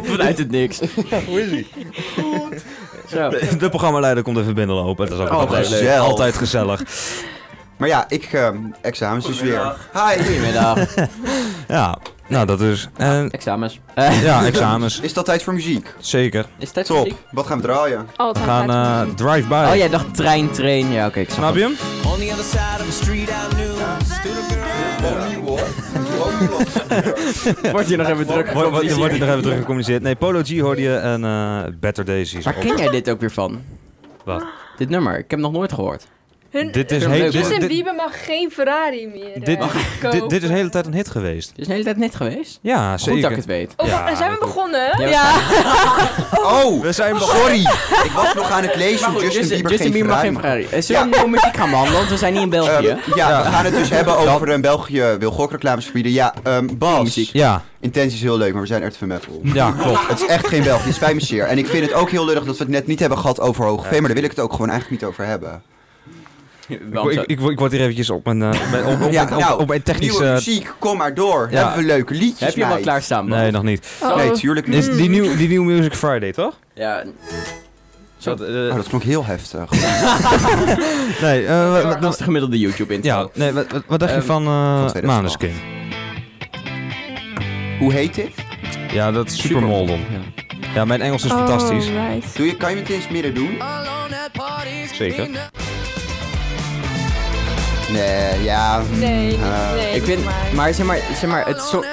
S5: vanuit het niks.
S3: Hoe is ie?
S5: Zo.
S1: De programmaleider komt even binnenlopen. Dat is ook
S3: Oh,
S1: altijd leuk.
S3: gezellig.
S1: Altijd gezellig.
S3: Maar ja, ik... ehm, examens dus weer. Hi.
S5: Goedemiddag.
S1: Ja, nou dat dus. En
S5: Examens. Eh,
S1: ja, examens.
S3: Is dat tijd voor muziek?
S1: Zeker.
S5: is het tijd voor
S3: Top.
S5: muziek?
S3: Wat gaan we draaien?
S1: We
S10: Altijd
S1: gaan
S10: laat
S1: eh,
S10: zien.
S1: drive-by.
S5: Oh, jij dacht trein, train. Ja, oké, ik snap
S1: Snap
S5: het.
S1: je hem?
S7: On the other side of the street I knew.
S1: Oh.
S5: Word je nog even druk?
S1: Wordt wordt- wordt er nog even terug gecommuniceerd. Nee, Polo G hoorde je en eh, Better Daisies.
S5: Waar
S1: op.
S5: ken jij dit ook weer van?
S1: Wat?
S5: Dit nummer, ik heb het nog nooit gehoord.
S10: Hun,
S1: Dit is,
S5: Een
S1: heel-
S5: leuk
S1: dit,
S10: Justin
S1: dit, dit,
S10: Bieber mag geen Ferrari meer. eh, kopen.
S1: dit- dit is de hele tijd een hit geweest.
S5: Het is de hele tijd net geweest.
S1: Ja,
S5: Goed dat ik
S1: zeker.
S5: het weet.
S10: Oh,
S1: Ja,
S10: wa- zijn we
S1: dat-
S10: begonnen?
S5: Ja.
S3: Oh,
S1: We zijn
S3: sorry. Ik was nog aan het lezen
S5: Maar
S3: hoe
S5: goed,
S3: Justin Bieber
S5: Justin
S3: geen
S5: mag
S3: Ferrari
S5: geen
S3: mag.
S5: Ferrari. Eh, Zullen we nieuwe muziek gaan behandelen? Want we zijn niet
S4: Eh,
S5: in België.
S3: Ehm, ja, we gaan het dus hebben over een België wil gokreclames verbieden. Ja, ehm Bas,
S5: Muziek.
S1: Ja,
S3: intentie is heel leuk, maar we zijn echt van metal.
S1: ja, klopt.
S3: Het is echt geen België, het spijt me zeer. En ik vind het ook heel lullig dat we het net niet hebben gehad over Hoogveen, maar daar wil ik het ook gewoon eigenlijk niet over hebben.
S1: Ik, ik, ik, ik word hier eventjes op mijn, eh, op mijn, op, op,
S3: Ja,
S1: op- op-
S3: nou,
S1: op mijn technische...
S3: Nieuwe muziek, kom maar door.
S1: ja.
S3: Hebben we leuke liedjes,
S5: Heb je hem al
S3: meid?
S5: klaarstaan? Bas?
S1: Nee, nog niet.
S4: Oh.
S3: Nee, tuurlijk niet.
S1: Is die, nieuw, die nieuwe Music Friday, toch?
S5: Ja,
S1: Zo.
S3: Oh, dat klonk heel heftig.
S1: nee, eh, wat- wat-
S5: dat is de gemiddelde YouTube-intro.
S1: ja, nee, wat, wat- wat dacht je
S5: Ehm,
S1: van,
S3: van
S1: eh
S3: 2012?
S1: Maneskin?
S3: Hoe heet dit?
S1: Ja, dat is Super Molden.
S2: Ja.
S1: Ja, mijn Engels is fantastisch.
S4: Oh, right.
S3: Doe je, kan je het eens midden doen?
S1: Zeker.
S3: Nee, ja. hm,
S10: Nee, niet-
S3: eh,
S10: nee.
S5: Ik vind,
S10: maar-
S5: maar zeg maar, zeg maar het soort...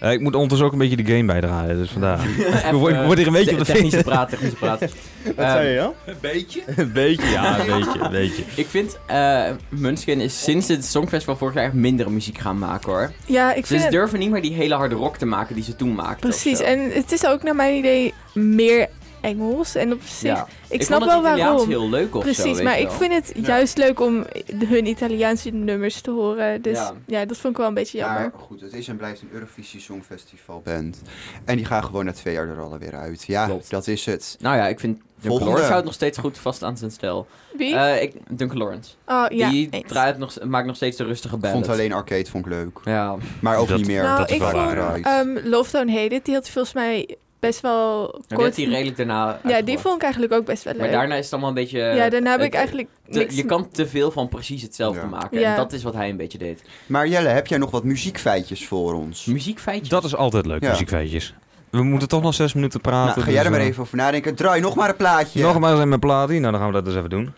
S1: Eh, ik moet ondertussen ook een beetje de game bijdragen, dus vandaar. ik, word, ik
S5: Even,
S1: word hier een beetje
S5: te-
S1: op de
S5: Technische
S1: vingers.
S5: praat, technische praat. Ehm,
S1: ja?
S3: Een beetje?
S1: Een beetje, ja, een beetje, een beetje.
S5: Ik vind, eh Munchkin is sinds het Songfestival vorig jaar minder muziek gaan maken hoor.
S4: Ja, ik
S5: Ze
S4: vind het...
S5: durven niet meer die hele harde rock te maken die ze toen maakten.
S4: Precies.
S5: of zo.
S4: En het is ook naar mijn idee meer Engels. En op zich...
S5: Ja.
S4: Ik snap
S5: vond het
S4: wel
S5: Italiaans
S4: waarom.
S5: heel leuk of zo,
S4: Precies,
S5: weet
S4: maar
S5: je
S4: ik
S5: wel.
S4: vind het juist leuk om hun Italiaanse nummers te horen. Dus
S5: Ja.
S4: ja, dat vond ik wel een beetje jammer.
S3: Maar goed, het is en blijft een Eurovisie Songfestival band. En die gaan gewoon na twee jaar er alweer uit. Ja,
S5: Klopt.
S3: dat is het.
S5: Nou ja, ik vind Duncan
S3: Volgende.
S5: Lawrence houdt nog steeds goed vast aan zijn stijl.
S4: Wie?
S5: Eh, ik, Duncan Lawrence.
S4: oh, ja.
S5: die
S4: eens.
S5: draait nog, maakt nog steeds de rustige
S3: Ik
S5: band.
S3: vond alleen Arcade vond ik leuk.
S5: Ja,
S3: Maar ook
S1: Dat-
S3: niet meer.
S4: nou,
S1: dat is
S4: ik
S1: wel
S4: vond
S1: waar.
S4: ehm, Love Don't Hate It, die had hij volgens mij best wel
S5: maar die
S4: kort...
S5: heeft hij redelijk daarna
S4: ja,
S5: uitgebracht.
S4: die vond ik eigenlijk ook best wel leuk.
S5: Maar daarna is het allemaal een beetje...
S4: ja, daarna heb
S5: het-
S4: ik eigenlijk
S5: te-
S4: niks...
S5: je kan te veel van precies hetzelfde
S3: Ja.
S5: maken. En
S4: Ja.
S5: dat is wat hij een beetje deed.
S3: Maar Jelle, heb jij nog wat muziekfeitjes voor ons?
S5: Muziekfeitjes.
S1: Dat is altijd leuk,
S3: Ja.
S1: muziekfeetjes. We moeten toch nog zes minuten praten.
S3: Nou, ga jij er
S1: dus,
S3: maar
S1: eh,
S3: even over nadenken. Draai nog maar een plaatje.
S1: Nog maar eens in mijn platie. Nou, dan gaan we dat eens even doen.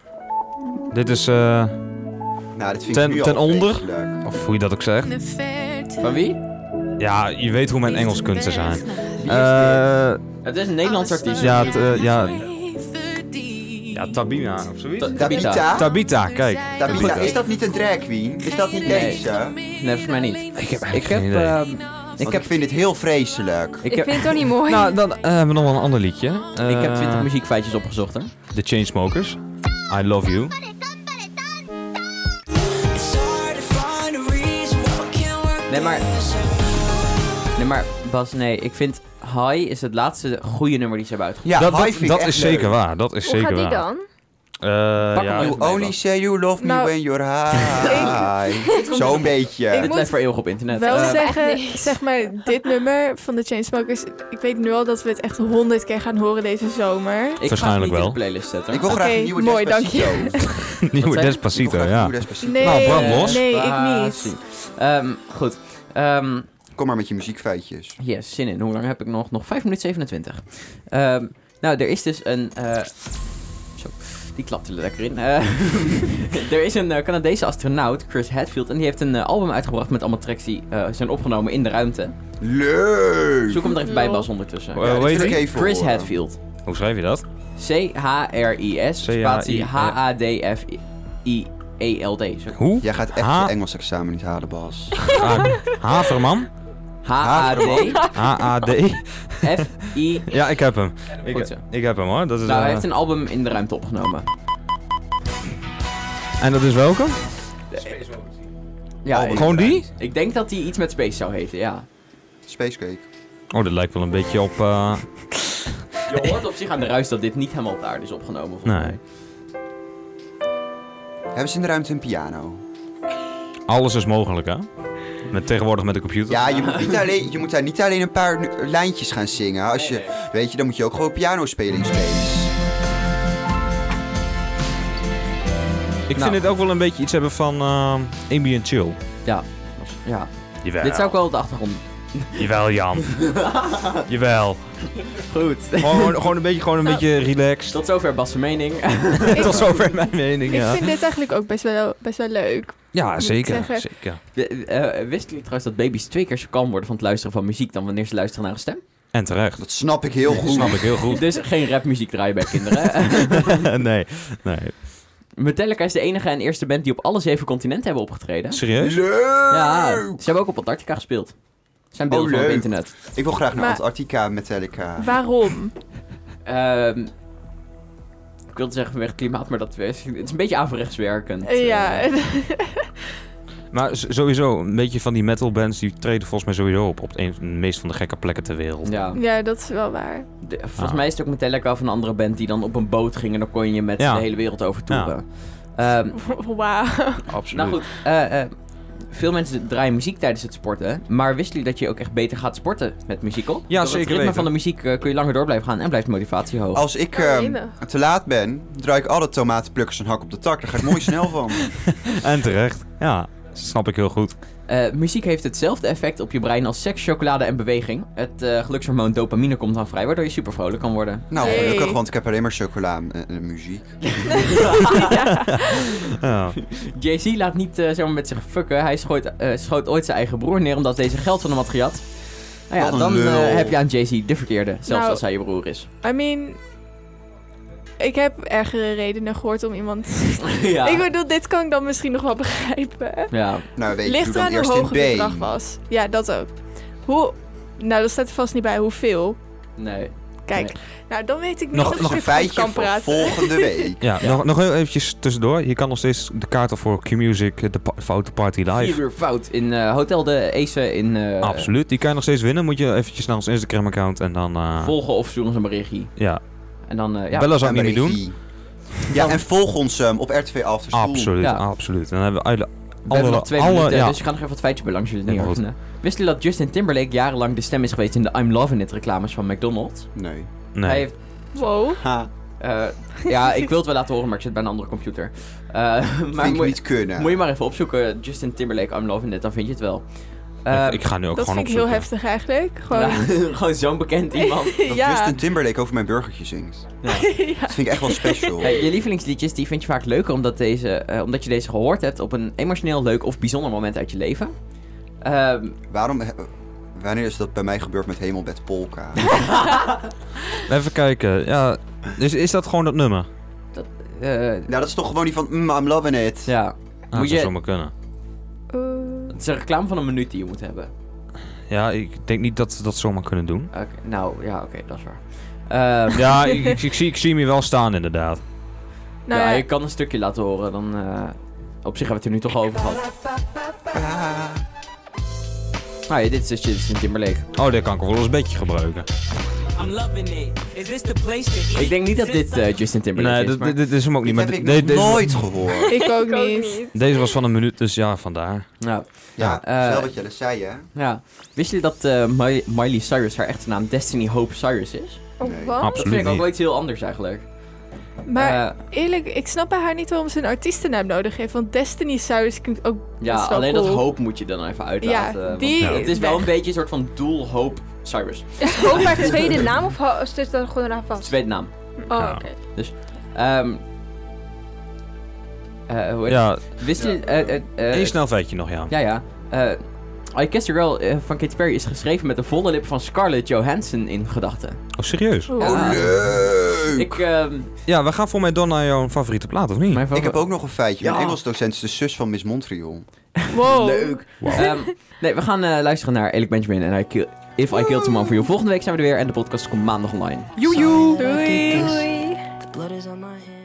S1: Dit is, eh,
S3: Nou, dit vind
S1: Ten-
S3: ik nu
S1: ten
S3: al
S1: onder?
S3: vreselijk.
S1: of hoe je dat ook zegt.
S5: Van wie?
S4: Eh,
S1: Ja, je weet hoe mijn Engels kunsten zijn.
S3: dit?
S1: Eh,
S5: Het is een Nederlands artiest.
S1: ja, t- eh, ja. Ja, Tabina of zoiets.
S5: Ta-
S3: Tabita.
S1: Tabita, kijk.
S3: Tabita, is dat niet een drag queen? Is dat niet
S5: Nee.
S3: deze? Want
S5: Nee, volgens mij niet. Ik heb ik
S1: geen idee.
S5: ehm, ik
S3: ik,
S5: heb,
S3: vind dit heel vreselijk.
S5: ik
S10: Ik
S5: heb,
S10: vind het ook niet mooi.
S1: Nou, dan eh, hebben we nog wel een ander liedje.
S5: ik heb
S1: Eh,
S5: 20 muziekfeitjes opgezocht, hè.
S1: The Chainsmokers. I love you.
S5: Nee, maar... Nee, maar Bas, nee. Ik vind High is het laatste goede nummer die ze hebben uitgebracht.
S3: Ja,
S1: dat
S3: Hive
S1: dat,
S3: vind ik
S1: dat
S3: echt
S1: is zeker
S3: leuk.
S1: waar. Dat is
S10: Hoe gaat die
S1: zeker waar.
S10: dan?
S1: Eh,
S5: Pak hem
S1: ja.
S5: maar.
S3: You only say you love me
S4: Nou,
S3: when you're high. Zo'n
S4: Ik
S3: beetje.
S5: het
S4: moet
S5: blijft voor eeuwig op internet.
S4: wel
S5: Eh,
S4: zeggen,
S10: echt niks.
S4: zeg maar, dit nummer van de Chainsmokers... Ik weet nu al dat we het echt honderd keer gaan horen deze zomer.
S5: ik
S1: Waarschijnlijk
S5: ga het niet
S1: wel.
S5: in de playlist zetten.
S3: Ik wil
S4: Oké,
S3: graag een nieuwe
S4: mooi, dank
S3: Despacito.
S4: je.
S3: Ik wil
S1: Nieuwe
S5: Wat zei-
S1: Despacito,
S3: graag een
S1: ja.
S3: nieuwe Despacito.
S4: Nee,
S1: Nou, brand los.
S4: nee, ik
S5: Ah,
S4: niet.
S5: Ehm, goed. Ehm
S3: Kom maar met je muziekfeitjes.
S5: yes, zin in. Hoe lang heb ik nog? Nog 5 minuten 27. Ehm, nou, er is dus een... eh, zo, die klapte er lekker in. Eh, er is een eh, Canadese astronaut, Chris Hadfield, en die heeft een eh, album uitgebracht met allemaal tracks die eh, zijn opgenomen in de ruimte.
S3: Leuk!
S5: Zoek hem er even bij,
S10: Lol.
S5: Bas, ondertussen.
S1: Eh, hoe
S3: dit
S1: heet
S3: wil ik
S1: die?
S3: even
S5: Chris
S3: horen.
S5: Hadfield.
S1: Hoe schrijf je dat?
S5: C-H-R-I-S, spatie H-A-D-F-I-E-L-D. Zo-
S1: Hoe?
S3: Jij gaat echt
S1: Ha.
S3: je Engels examen niet halen, Bas.
S1: Ah, Haverman? H-A-D?
S5: H-A-D-F-I...
S1: E. Ja, ik heb hem.
S5: Goed
S1: Ik,
S5: zo.
S1: ik heb hem hoor. Dat is,
S5: Nou, hij
S1: eh,
S5: heeft een album in de ruimte opgenomen.
S1: En dat is welke?
S5: Ja, ik,
S1: Oh, Gewoon die?
S5: ik denk dat hij iets met Space zou heten, ja.
S3: Spacecake.
S1: Oh, dat lijkt wel een beetje op... eh,
S5: Je hoort op zich aan de ruis dat dit niet helemaal op de aarde is opgenomen, volgens
S1: Nee.
S5: mij.
S3: Hebben ze in de ruimte een piano?
S1: Alles is mogelijk, hè? Met, tegenwoordig met de computer.
S3: Ja, je moet, niet alleen, je moet daar niet alleen een paar nu- lijntjes gaan zingen. Als
S5: Nee,
S3: je, weet je, dan moet je ook gewoon piano spelen in space.
S1: ik
S5: nou.
S1: vind dit ook wel een beetje iets hebben van ehm ambient chill.
S5: Ja.
S1: Jawel.
S5: Dit zou ik wel op de achtergrond...
S1: Jawel, Jan. Jawel.
S5: Goed.
S1: Gewoon, gewoon een beetje, gewoon een beetje relaxed.
S5: Tot zover Bas' mening.
S1: Tot zover mijn mening,
S4: Ik
S1: ja.
S4: vind dit eigenlijk ook best wel, best wel leuk.
S1: Ja,
S4: ik
S1: zeker.
S4: zeggen.
S1: zeker.
S5: Eh, eh, Wisten jullie trouwens dat baby's twee keer zo kalm worden van het luisteren van muziek dan wanneer ze luisteren naar een stem?
S1: En terecht.
S3: Dat snap ik heel
S1: Dat
S3: goed.
S1: snap ik heel goed.
S5: Dus geen rapmuziek draaien bij kinderen.
S1: nee, nee.
S5: Metallica is de enige en eerste band die op alle zeven continenten hebben opgetreden.
S1: Serieus?
S3: Leuk!
S5: Ja, ze hebben ook op Antarctica gespeeld. Zijn beelden
S3: Oh,
S5: van op
S3: leuk.
S5: internet.
S3: Ik wil graag naar
S4: Maar-
S3: Antarctica, Metallica.
S4: Waarom?
S5: Ehm, ik wilde zeggen vanwege het klimaat, maar dat is, het is een beetje averechts werkend.
S4: Eh, ja,
S5: Eh,
S1: Maar s- sowieso, een beetje van die metal bands die treden volgens mij sowieso op op een van de meest van de gekke plekken ter wereld.
S5: ja.
S4: ja, dat is wel waar.
S5: De-
S1: Nou.
S5: volgens mij is het ook Metallica of een andere band die dan op een boot ging en dan kon je met
S1: Ja.
S5: de hele wereld over toeren. Ehm,
S4: Wauw.
S3: Absoluut.
S5: nou goed, eh, eh, veel mensen draaien muziek tijdens het sporten. Maar wisten jullie dat je ook echt beter gaat sporten met muziek op? Door
S1: zeker
S5: het ritme
S1: weten.
S5: van de muziek eh, kun je langer door blijven gaan en blijft de motivatie hoog.
S3: Als ik
S4: Oh,
S3: ehm,
S4: jemig.
S3: te laat ben, draai ik alle tomatenplukkers een hak op de tak. Daar ga ik mooi snel van.
S1: En terecht. Ja, snap ik heel goed.
S5: Eh, muziek heeft hetzelfde effect op je brein als seks, chocolade en beweging. Het eh, gelukshormoon dopamine komt dan vrij, waardoor je super vrolijk kan worden.
S3: Nou,
S4: Hey.
S3: gelukkig, want ik heb alleen maar chocola en, en muziek.
S1: Ja.
S5: Jay-Z laat niet eh, zomaar met zich fucken. Hij schooit, eh, schoot ooit zijn eigen broer neer omdat deze geld van hem had gejat. Nou ja,
S3: Wat een
S5: dan eh,
S3: lul.
S5: heb je aan Jay-Z de verkeerde, zelfs
S4: Nou.
S5: als hij je broer is.
S4: I mean... Ik heb ergere redenen gehoord om iemand...
S5: ja.
S4: Ik bedoel, dit kan ik dan misschien nog wel begrijpen.
S5: ja.
S3: Nou, weet je, doe
S4: Ligt
S3: dan
S4: eraan hoe
S3: eerst
S4: hoog
S3: in
S4: het
S3: been.
S4: bedrag was. Ja, dat ook. Hoe... Nou, dat staat er vast niet bij hoeveel.
S5: Nee.
S4: Kijk,
S5: Nee.
S4: nou dan weet ik niet
S1: Nog-
S4: of ik
S3: Nog een
S4: goed
S3: feitje
S4: kan
S3: voor
S4: praten.
S3: volgende week.
S1: Ja, Nog, nog heel eventjes tussendoor. Je kan nog steeds de kaarten voor Q-Music, eh, de pa- Foute Party
S5: Vier
S1: Live.
S5: uur fout in eh, Hotel de Ace in eh,
S1: Absoluut. Die kan je nog steeds winnen. Moet je eventjes naar ons Instagram-account en dan... eh,
S5: volgen of sturen ze een berichtje.
S1: Ja,
S5: En dan, eh, ja.
S1: bellen zou ik
S3: En
S1: niet meer doen.
S3: regie. Ja, en volg ons ehm, op RTV After School.
S1: Absoluut,
S5: Ja.
S1: absoluut. En dan hebben we alle...
S5: We hebben nog twee
S1: alle-
S5: minuten,
S1: ja.
S5: dus ik ga nog even wat feitjes belangs jullie
S1: Helemaal
S5: neerzetten. Wist jullie dat Justin Timberlake jarenlang de stem is geweest in de I'm Lovin' It reclames van McDonald's?
S3: Nee.
S1: Nee.
S5: Hij heeft,
S4: Wow.
S3: Ha,
S5: eh, ja, ik wil het wel laten horen, maar ik zit bij een andere computer. Eh, maar
S3: vind ik
S5: moet,
S3: niet kunnen.
S5: moet je maar even opzoeken, Justin Timberlake I'm Lovin' It, dan vind je het wel.
S1: Ja,
S5: Eh,
S1: ik ga nu ook
S4: Dat
S1: gewoon
S4: vind ik heel
S1: opzoeken.
S4: heftig eigenlijk. Gewoon,
S5: ja, gewoon zo'n bekend iemand.
S3: Dat
S4: ja.
S3: Justin Timberlake over mijn burgertje zingt.
S4: ja.
S3: Dat vind ik echt wel special.
S5: Eh, je lievelingsliedjes die vind je vaak leuker omdat, deze, eh, omdat je deze gehoord hebt op een emotioneel leuk of bijzonder moment uit je leven. Ehm,
S3: Waarom... he- Wanneer is dat bij mij gebeurd met Hemelbed Polka? Nou,
S1: Even kijken. Ja, dus is dat gewoon dat nummer?
S5: eh,
S3: nou, dat is toch gewoon die van... Mm, I'm loving it.
S5: ja,
S1: Ah,
S5: Moet
S1: dat
S5: je-
S1: zou zomaar kunnen.
S4: Oeh.
S5: het is een reclame van een minuut die je moet hebben.
S1: Ja, ik denk niet dat ze dat zomaar kunnen doen.
S5: Oké,
S1: Oh,
S5: nou, ja, oké, dat is waar. Ehm,
S1: Ja, ik, ik, ik zie, ik zie hem hier wel staan inderdaad.
S4: Nou
S5: ja,
S4: ja,
S5: je kan een stukje laten horen, dan... eh, op zich hebben we het er nu toch al over gehad. Nou ja, dit is dus Justin Timberlake.
S1: Oh, dit kan ik wel eens een beetje gebruiken.
S7: I'm loving it. Is this the place to eat?
S5: Ik denk niet dat dit eh, Justin Timberlake
S1: Nee,
S5: is,
S1: dit,
S5: maar...
S1: dit- dit is hem ook niet.
S3: Dit
S1: Maar
S3: heb ik
S1: de-
S3: nog
S1: deze,
S3: nooit gehoord.
S4: ik ook
S10: Ik ook
S4: niet.
S10: niet.
S1: deze was van een minuut, dus ja, vandaar.
S5: Nou,
S3: Ja,
S5: Ja, eh,
S3: zelf wat jij net zei, hè?
S5: ja. Wist jullie dat eh, Mi- Miley Cyrus haar echte naam Destiny Hope Cyrus is?
S3: Nee.
S4: Oh, wat?
S5: Dat
S1: Absoluut
S5: vind ik ook
S1: niet.
S5: wel iets heel anders eigenlijk.
S4: Maar
S5: Eh,
S4: eerlijk, ik snap bij haar niet waarom ze een artiestennaam nodig heeft. Want Destiny Cyrus klinkt ook
S5: ja,
S4: best wel
S5: alleen
S4: cool.
S5: dat hoop moet je dan even uitlaten.
S4: Ja,
S5: want eh,
S4: die
S5: Het is wel
S4: weg.
S5: een beetje een soort van doel hoop Cyrus.
S10: Is Hope haar tweede naam of ho- is dit dan gewoon haar vast?
S5: Tweede naam.
S10: Oh,
S1: Ja.
S10: oké.
S5: Ehm eh, hoe heet
S1: Ja,
S5: het? Wist je... eh, eh, eh,
S1: één snel feitje nog, ja.
S5: Ja, ja. Eh, I Kissed a Girl eh, van Katy Perry is geschreven met de volle lip van Scarlett Johansson in gedachten.
S1: Oh, serieus?
S4: Oeh.
S5: Ja.
S3: Oh, leuk!
S5: Ik, ehm,
S1: Ja, we gaan voor mij door naar jouw favoriete plaat, of niet?
S5: mijn favor-
S3: Ik heb ook nog een feitje.
S5: Ja.
S3: Mijn Engels docent is de zus van Miss Montreal.
S4: Wow.
S5: Leuk. Ehm, nee, we gaan eh, luisteren naar Alec Benjamin en I kill, If I Killed Someone For You. Volgende week zijn we er weer en de podcast komt maandag online.
S4: Doei.
S6: The blood is on my hands.